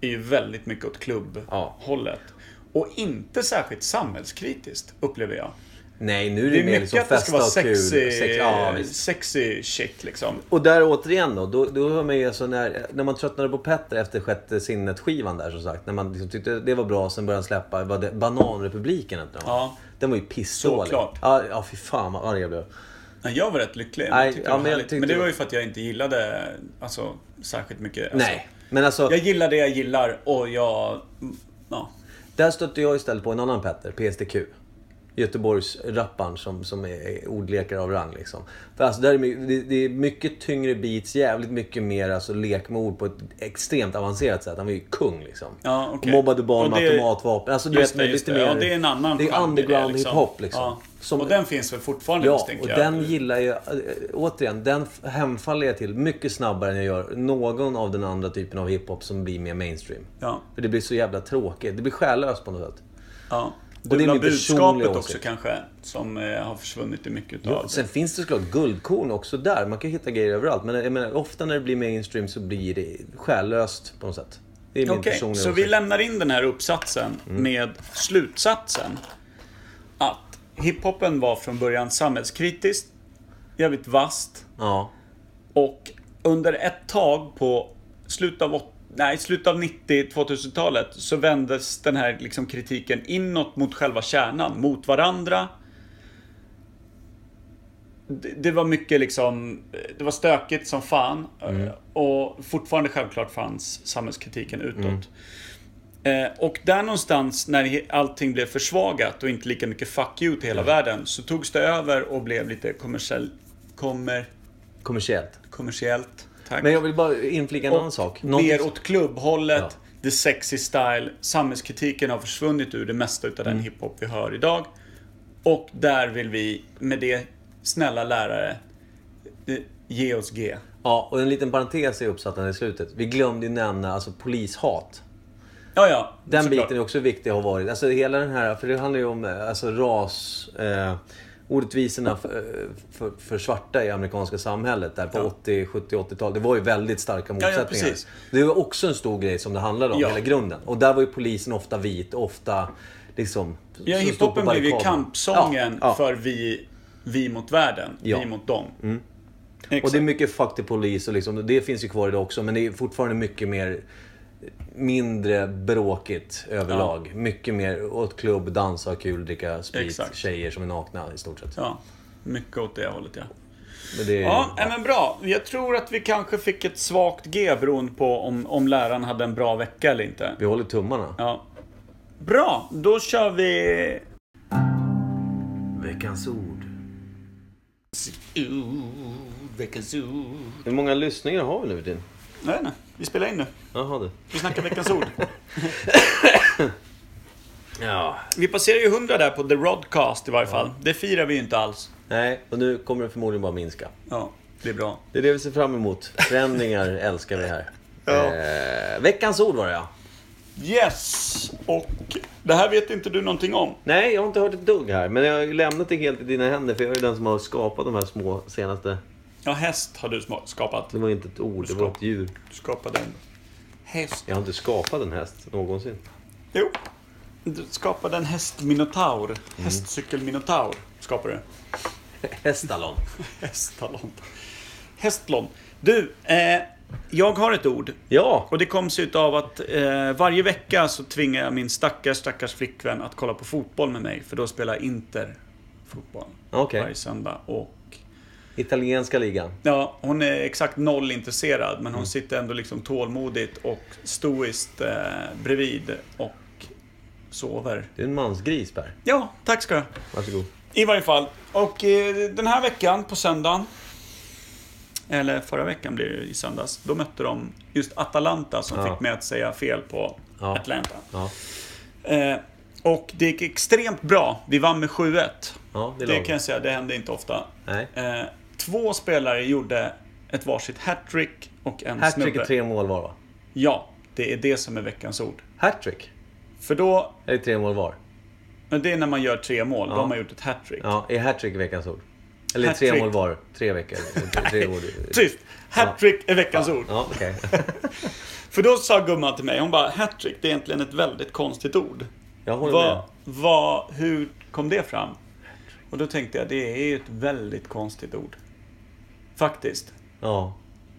är ju väldigt mycket åt klubbhållet. Och inte särskilt samhällskritiskt, upplever jag.
Nej, nu är
Det
det,
är
mer
mycket
liksom
att det ska
festa
vara
och kul.
sexy,
Sex- ja, visst.
sexy shit liksom.
Och där återigen då, då, då hör man ju alltså när, när man tröttnade på Petter efter sjätte sinnet-skivan där som sagt. När man liksom tyckte det var bra, sen började han släppa var det Bananrepubliken. Inte
Ja.
Den var ju pissdålig.
Såklart. Alltså,
Ja, ja, fy fan vad arg jag blev.
Ja, Jag var rätt lycklig.
Nej,
jag tyckte
ja,
det var
men jag
härligt.
tyckte
men det
det
var
var-
ju för att jag inte gillade alltså, särskilt mycket. Alltså,
Nej, men alltså
Jag gillar det jag gillar och jag... Ja.
där stötte jag istället på en annan Petter, PSTQ. Göteborgs rapparen som, som är ordlekare av rang liksom. För alltså, där är, my- det, det är mycket tyngre beats, jävligt mycket mer alltså, lek med ord på ett extremt avancerat sätt. Han var ju kung liksom.
Ja, okej.
Mobbade barn
Och
med
det-
automatvapen. Alltså du
Just
vet, med
det, just
lite
det.
mer...
Ja, det är en annan
Det är
genre
underground hiphop liksom.
Ja.
Som-
och den finns väl fortfarande
Ja,
misstänker
och
jag.
den gillar jag... äh, Återigen, den f- hemfaller jag till mycket snabbare än jag gör någon av den andra typen av hiphop som blir mer mainstream.
Ja,
För det blir så jävla tråkigt. Det blir själlöst på något sätt.
ja.
det är
Dubbla
min personliga
budskapet också
åsikt.
kanske, som eh, har försvunnit i mycket
Ja,
av
sen finns det såklart guldkorn också där. Man kan hitta grejer överallt. Men jag menar, ofta när det blir mainstream så blir det själlöst på något sätt. Det är min
Okej,
personliga
så vi
åsikt. Mm.
lämnar in den här uppsatsen med slutsatsen att hiphopen var från början samhällskritiskt, jävligt vast
Ja.
och under ett tag på slutet av, åt- nej, slutet av 90-2000-talet så vändes den här liksom kritiken inåt mot själva kärnan, mot varandra. Det, det var mycket liksom, det var stökigt som fan eh, och fortfarande självklart fanns samhällskritiken utåt. Eh, Och där någonstans när he- allting blev försvagat och inte lika mycket fuck you till hela världen så togs det över och blev lite kommersiell, kommer,
Kommersiellt.
kommersiellt. Tack.
Men jag vill bara inflika en annan sak. Någonting
Mer
som-
åt klubbhållet,
Ja.
the sexy style. Samhällskritiken har försvunnit ur det mesta utav
Mm.
den hiphop vi hör idag. Och där vill vi, med det, snälla lärare, eh, ge oss G.
Ja, och en liten parentes är uppsatt i slutet. Vi glömde ju nämna alltså, polishat.
Ja, ja.
Den
såklart.
biten är också viktig har varit. Alltså hela den här, för det handlar ju om eh, alltså, ras... Eh, orättvisorna för, eh, för, för svarta i amerikanska samhället där på
Ja.
80, 70, 80-talet. Det var ju väldigt starka
ja,
motsättningar.
precis.
det var också en stor grej som det handlade om,
Ja.
hela grunden. Och där var ju polisen ofta vit, ofta liksom...
Ja,
som stod på
hiphopen blev ju
barrikaderna.
kampsången
Ja, ja.
för vi vi mot världen,
Ja. Mm.
vi mot dem.
Och
Exakt.
det är mycket fuck the police och liksom, det finns ju kvar idag också men det är fortfarande mycket mer mindre bråkigt överlag. Mycket mer åt klubb, dansa, ha kul, dricka sprit,
Exakt.
tjejer som är nakna i stort sett.
Ja, mycket åt det hållet ja.
Men det är,
Ja, nej, men bra. Jag tror att vi kanske fick ett svagt G beroende på om, om läraren hade en bra vecka eller inte.
Vi håller tummarna.
Ja. Bra, då kör vi...
Veckans ord.
Veckans ord.
Hur många lyssningar har vi nu för tiden?
Nej, nej. Vi spelar in nu.
Jaha du.
Vi snackar veckans ord.
Ja.
Vi passerar ju 100 där på The Rodcast i varje fall. Det firar vi ju inte alls.
Nej, och nu kommer det förmodligen bara minska.
Ja, det är bra.
Det är det vi ser fram emot. Förändringar älskar vi här. Eh, veckans ord var det ja.
Yes! Och det här vet inte du någonting om.
Nej, jag har inte hört ett dugg här. Men jag har ju lämnat det helt i dina händer för jag är ju den som har skapat de här små senaste...
Ja, häst har du sma- skapat.
Det var inte ett ord, det var ett djur.
Du skapade en häst.
Jag har inte skapat en häst någonsin.
Jo. Du skapade en hästminotaur. Hästcykelminotaur skapade du.
Hästalon.
Hästalon. Hästlon. Du, eh, jag har ett ord.
Ja!
Och det kom sig utav att eh, varje vecka så tvingar jag min stackars, stackars flickvän att kolla på fotboll med mig. För då spelar Inter fotboll.
Okej.
Varje söndag. Och
Italienska ligan.
ja, hon är exakt noll intresserad. Men hon sitter ändå liksom tålmodigt och stoiskt eh, bredvid och sover.
Du är en mansgris Per.
Ja, tack ska du ha.
Varsågod.
I varje fall. Och eh, den här veckan på söndagen, eller förra veckan blir det i söndags, då mötte de just Atalanta som
Ja.
fick mig att säga fel på
Ja.
Atlanta.
Ja,
Eh, och det gick extremt bra. Vi vann med 7-1.
ja det
Det,
är lagom.
kan jag säga, det hände inte ofta.
Nej.
Eh, två spelare gjorde ett varsitt hattrick och en
Hattrick
snubbe.
är tre mål var va?
Ja, det är det som är veckans ord.
Hattrick?
För då,
Är det tre mål var?
men det är när man gör tre mål, då
Ja.
har man gjort ett hattrick.
Ja, är hattrick veckans ord? Eller tre
Hattrick.
mål var? Tre veckor? Tre år.
Tyst! Hattrick är veckans ord.
Ja, okej.
För då sa gumman till mig, hon bara hattrick, det är egentligen ett väldigt konstigt ord.
Jag håller
Vad,
med.
vad, hur kom det fram? Och då tänkte jag, det är ju ett väldigt konstigt ord. Faktiskt.
Ja.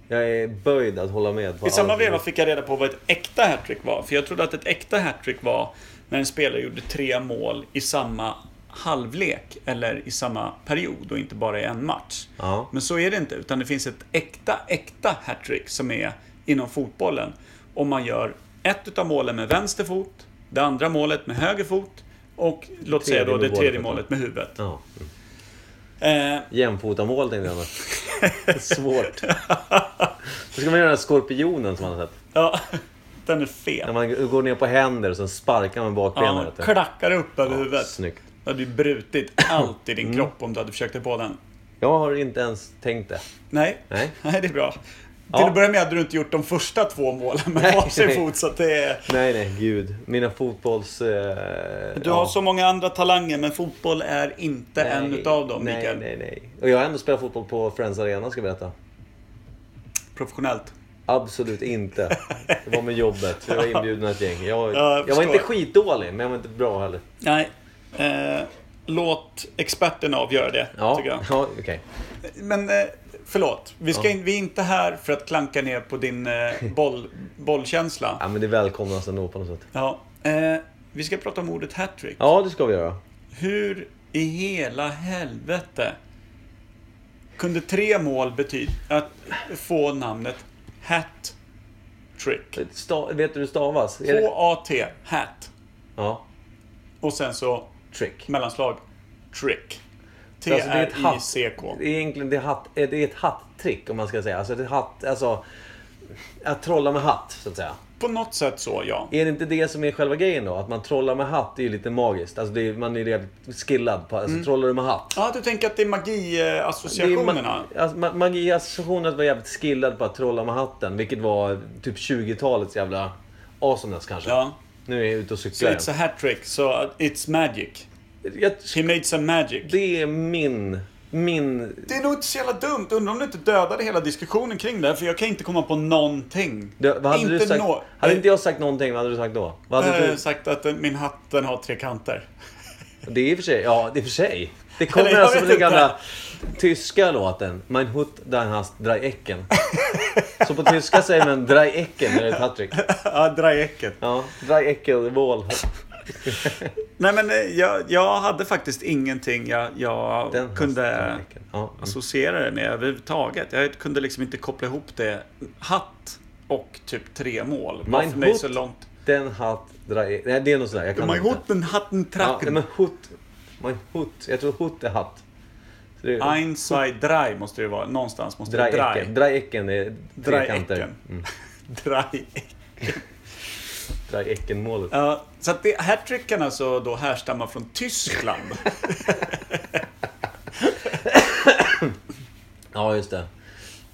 Jag är böjd att hålla med. på
I samma
allt.
veva fick jag reda på vad ett äkta hattrick var. För jag trodde att ett äkta hattrick var när en spelare gjorde tre mål i samma halvlek eller i samma period och inte bara i en match.
Ja.
Men så är det inte, utan det finns ett äkta, äkta hattrick som är inom fotbollen. Om man gör ett utav målen med vänster fot, det andra målet med höger fot och låt
Tredje
säga då det
med
tredje
målet.
målet med huvudet.
ja.
Eh,
Jämfotamål tänkte jag annars. Svårt. Då ska man göra den här skorpionen som man har sett.
ja, den är
När
fel.
man går ner på händer och sen sparkar man
Ja,
bakbenen.
man
vet du.
klackar upp över
Ja,
huvudet.
snyggt. Mm.
Du hade ju brutit allt i din kropp om du hade försökt dig på den.
Jag har inte ens tänkt det.
Nej,
Nej.
det är bra.
Ja.
Till att börja med hade du inte gjort de första två målen med
Nej,
varsin
nej.
fot. Så att det är...
Nej, nej, gud. Mina fotbolls... Eh,
Du
ja.
har så många andra talanger, men fotboll är inte
Nej,
en utav dem,
nej,
Mikael.
Nej, nej. Och jag har ändå spelat fotboll på Friends Arena, ska jag berätta.
Professionellt.
Absolut inte. Det var med jobbet. Jag var inbjuden av ett gäng. Jag,
jag
jag var
förstår.
inte skitdålig, men jag var inte bra heller.
Nej. Eh, låt experterna avgöra det,
Ja,
tycker jag.
ja okej.
Men eh, förlåt, vi, ska
Ja.
in, vi är inte här för att klanka ner på din eh, boll, bollkänsla.
Ja, men det välkomnas ändå på något sätt.
Ja. Eh, vi ska prata om ordet hattrick.
Ja, det ska vi göra.
Hur i hela helvete kunde tre mål betyda att få namnet hat-trick?
Sta- vet du hur det stavas? Är det-
H-A-T, hat.
Ja,
Och sen så
trick.
mellanslag trick.
Alltså, det är ett hatt.
T-R-I-C-K.
Det är egentligen det är hatt, eh, det är ett hattrick om man ska säga. Alltså, det är hatt, alltså, att trolla med hatt, så att säga.
På något sätt så, ja.
Är det inte det som är själva grejen då? Att man trollar med hatt det är ju lite magiskt. Alltså, det är, man är ju jävligt skillad på... Alltså, trollar du med hatt?
Ja, du tänker att det är
Det är ma-
magiassociationerna?
alltså, ma- Magiassociationen var jävligt skillad på att trolla med hatten, vilket var typ 20-talets jävla awesomeness kanske.
Ja.
Nu är jag ute och
So
cyklar
it's a hat trick, so it's magic.
igen. jag,
He made some magic.
Det är min... Min...
Det är nog inte så jävla dumt. Undrar om du inte dödade hela diskussionen kring det, här, för jag kan inte komma på någonting.
Det, vad hade
inte
du sagt?
nå-
Hade inte jag sagt någonting, vad hade du sagt då? Vad hade
Eh,
du...
sagt att eh, min hatt, den har tre kanter.
Det är i och för sig, ja det är i och för sig. Det
Eller,
kommer
jag
alltså
vet
från den
inte.
gamla tyska låten. Mein Hut, dein Hast, drei Ecken. Så på tyska säger man drei Ecken när det är Patrick.
ja, dra i äcket.
Ja, drei Ecken, mål.
Nej men eh, jag, jag hade faktiskt ingenting jag, jag
Den
kunde
hasten, Michael. Ja, mm.
associera det med överhuvudtaget. Jag kunde liksom inte koppla ihop det. Hatt och typ tre mål. Var
Mein
för mig
Hut.
så långt.
Den Hat, drei Ecken. Nej, det är något sånt där. Jag kan
Mein
inte.
Hutten, Hatten,
Ja,
Tracken.
men Hut. Mein Hut. Jag tror Hut är hatt. Så det är-
Ein, zwei, drei måste det vara. Någonstans måste
Drei
det vara
Ecken. Drei Ecken är
Drei
trekanter.
Ecken. Drei Ecken.
Drei Ecken målet.
Ja, så att det- hattrick kan alltså då härstamma från Tyskland.
Ja, just det.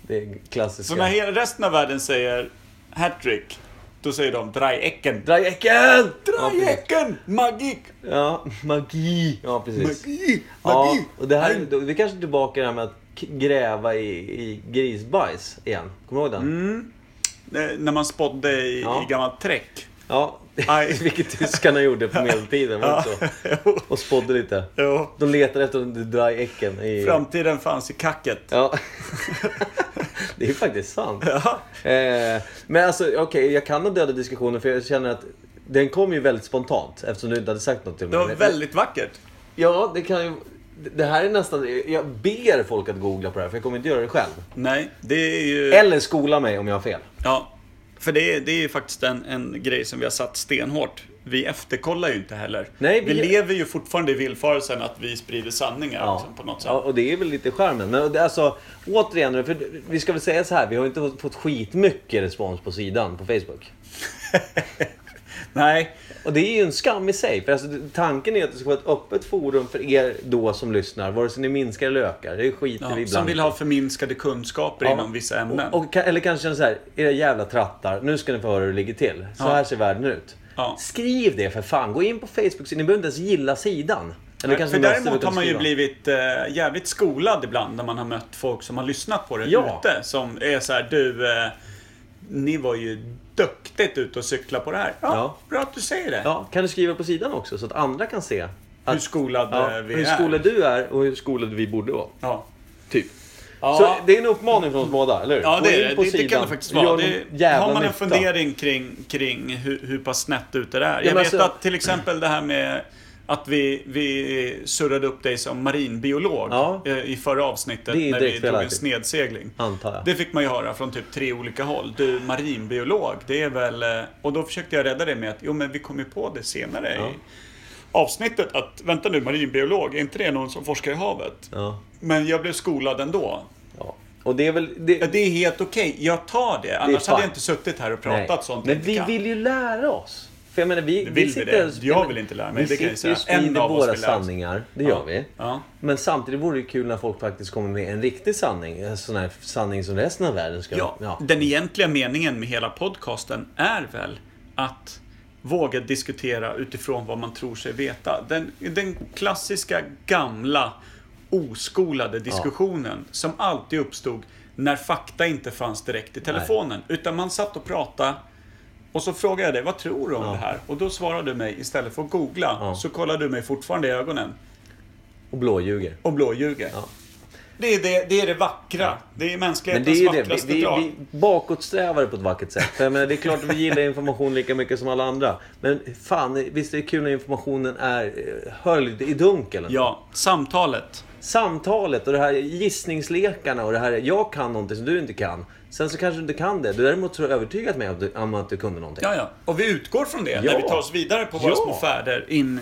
Det är klassiska.
så när hela resten av världen säger hattrick, då säger de Drei Ecken.
Drei Ecken! Ja,
Drei
precis.
Ecken! Magik!
Ja, magi. Ja, precis.
Magi!
Ja,
Magi!
och det här, då- vi kanske är tillbaka i det här med att k- gräva i, i grisbajs igen. Kommer du ihåg den?
Mm. Eh, När man spådde i,
Ja.
i gammalt träck.
Ja,
Aj.
vilket tyskarna gjorde på medeltiden. var det inte så?
Jo,
Och spådde lite.
jo.
De letade efter de dry äcken. I...
Framtiden fanns i kacket.
Ja. det är ju faktiskt sant.
Ja.
Eh, men alltså, okej, jag kan ha dödat diskussionen för jag känner att den kom ju väldigt spontant eftersom du inte hade sagt något till
Det
mig.
var väldigt vackert.
Ja, det kan ju... Det här är nästan... Jag ber folk att googla på det här för jag kommer inte göra det själv.
Nej, det är ju...
Eller skola mig om jag har fel.
Ja. För det är, det är ju faktiskt en, en grej som vi har satt stenhårt. Vi efterkollar ju inte heller.
Nej,
vi...
vi-
lever ju fortfarande i villfarelsen att vi sprider sanningar liksom, på något sätt.
Ja, och det är väl lite skärmen. Men det, alltså, återigen, för vi ska väl säga så här. Vi har inte fått- fått skitmycket respons på sidan på Facebook.
Nej,
Och det är ju en skam i sig. För alltså, tanken är att det ska vara ett öppet forum för er då som lyssnar. Vare sig ni minskar eller ökar. Det skiter vi
ja,
ibland
som vill
i.
ha förminskade kunskaper
Ja.
inom vissa ämnen.
Och, och, ka- eller kanske känner så här, era jävla trattar, nu ska ni få höra hur det ligger till. Så
Ja.
här ser världen ut.
Ja.
Skriv det för fan, gå in på Facebook, ni behöver inte ens gilla sidan. Eller
Nej,
kanske
Eh, för
ni måste,
däremot
utan
har man ju
skriva.
blivit eh, jävligt skolad ibland när man har mött folk som har lyssnat på det
Ja.
ute. Som är så här, du, eh, ni var ju duktigt ute och cykla på det här. Ja,
Ja.
Bra att du säger det.
Ja, kan du skriva på sidan också så att andra kan se.
Hur
Att,
skolad
ja,
eh, vi
hur
är.
skolad du är och hur skolad vi borde vara.
Ja.
Typ.
Ja.
Så det är en uppmaning från oss båda, eller hur?
Ja,
Gå in
det är det.
på
Det, det kan det
sidan,
faktiskt
gör
vara.
någon
Det,
jävla
har man en
nytta.
fundering kring, kring hur, hur pass snett ute det är. Jag
men
vet
alltså-
att till exempel det här med att vi, vi surrade upp dig som marinbiolog
Ja.
eh, i förra avsnittet
Det är ju
när vi
direkt
drog en
felaktigt.
snedsegling.
Antar jag.
Det fick man ju höra från typ tre olika håll. Du, marinbiolog, det är väl... eh, Och då försökte jag rädda det med att jo, men vi kom ju på det senare
Ja.
i avsnittet att vänta nu, marinbiolog, är inte det någon som forskar i havet?
Ja.
Men jag blev skolad ändå.
ja. Och det är väl... Det,
Ja, Det är helt okej, jag tar det. Annars
fine.
hade jag inte suttit här och pratat
Nej.
sånt jag
Men
inte
vi
kan.
vill ju lära oss. För jag menar, vi,
Det vill vi
sitter
det.
och
Jag
spelar-
vill inte lära mig,
Vi
det kan jag
sitter ju och
säga. En
sprider
av oss
våra
vill lära oss.
sanningar, det
Ja.
gör vi.
Ja.
Men samtidigt vore det kul när folk faktiskt kommer med en riktig sanning. En sån här sanning som resten av världen ska...
ja, Den egentliga meningen med hela podcasten är väl att våga diskutera utifrån vad man tror sig veta. Den, den klassiska gamla oskolade diskussionen som alltid uppstod när fakta inte fanns direkt i telefonen. Utan man satt och pratade och så frågade jag dig, vad tror du om det här? Och då svarade du mig, istället för att googla,
Ja.
så kollade du mig fortfarande i ögonen.
Och blåljuger.
och blåljuger.
Ja.
Det, är det, det är det vackra. Det är
Men
mänsklighetens
det är ju det,
vackraste
vi, vi,
drag.
vi bakåtsträvare på ett vackert sätt. För jag menar, det är klart att vi gillar information lika mycket som alla andra. Men fan, visst är det kul när informationen är eh, höljd i dunkeln?
Ja, samtalet.
samtalet och det här gissningslekarna och det här jag kan någonting som du inte kan. Sen så kanske du inte kan det. Du däremot har övertygat mig om att du- om att du kunde någonting.
Ja, ja. Och vi utgår från det när
Ja.
vi tar oss vidare på våra
Ja.
små färder in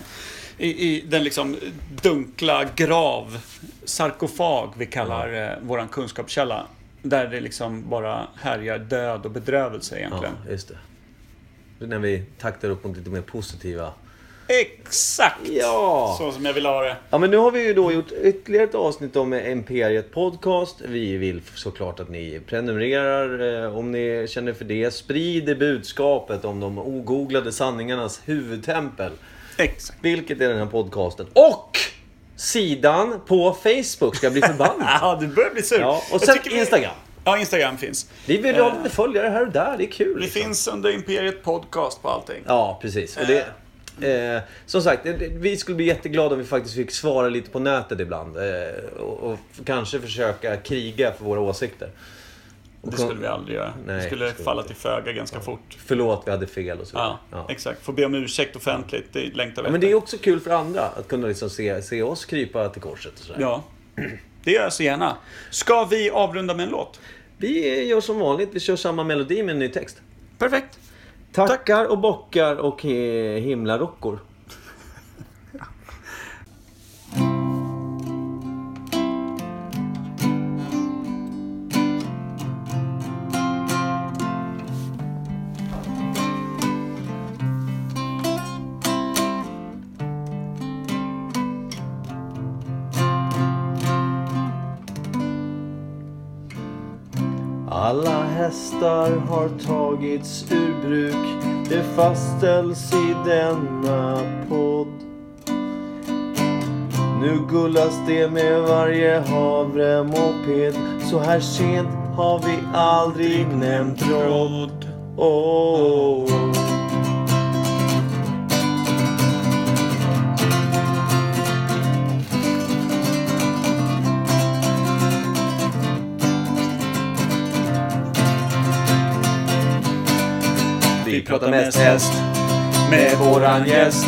i, i den liksom dunkla grav, sarkofag vi kallar eh, våran kunskapskälla. Där det liksom bara härjar död och bedrövelse
Ja,
egentligen.
just det. Så När vi taktar upp mot lite mer positiva.
Exakt!
Ja.
Så som jag vill ha det.
Ja men nu har vi ju då gjort ytterligare ett avsnitt om Imperiet Podcast. Vi vill såklart att ni prenumererar eh, om ni känner för det. Sprider budskapet om de ogooglade sanningarnas huvudtempel.
Exakt.
Vilket är den här podcasten. Och sidan på Facebook ska bli förbannad.
Ja, du börjar bli sur.
Ja, och
Jag
sen
tycker vi- Eh.
Instagram.
Ja, Instagram finns.
Vi vill ha lite följare här och där, det är kul.
Vi
liksom.
finns under Imperiet Podcast på allting.
Ja, precis. Och det, Eh, som sagt, det- det- vi skulle bli jätteglada om vi faktiskt fick svara lite på nätet ibland. Eh, och, och f- kanske försöka kriga för våra åsikter.
Det skulle vi aldrig göra.
Nej,
det skulle
det skulle
falla
vi
till föga ganska fort.
Förlåt, vi hade fel och så vidare.
Ja, exakt. Få be om ursäkt offentligt, det längtar vi
Ja, men det är också kul för andra att kunna liksom se, se oss krypa till korset. Och sådär.
Ja, det gör jag så gärna. Ska vi avrunda med en låt?
Vi gör som vanligt, vi kör samma melodi med en ny text.
Perfekt.
Tackar och bockar och he, himlarockor. Alla hästar har tagits ur bruk. Det fastställs i denna podd. Nu gullas det med varje havremoped. Så här sent har vi aldrig nämnt råd. Oh.
Vi pratar mest häst med våran gäst.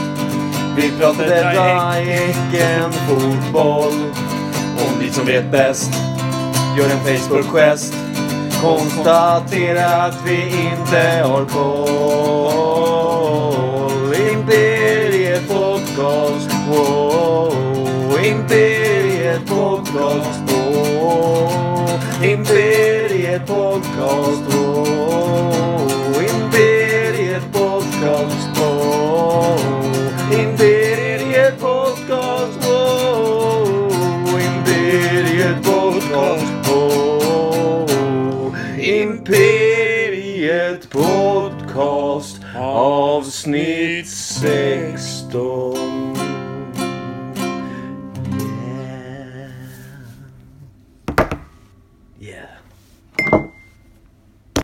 Vi pratar
detta
Häcken fotboll.
Om ni som vet bäst gör en Facebook-gest.
Konstatera att vi inte har koll. Imperiet Podcast. Oh, Imperiet Podcast. Oh, Imperiet Podcast. Oh, Imperiet Podcast. Oh, Imperiet Podcast. Oh, Imperiet Podcast. Oh, Imperiet Podcast avsnitt 16.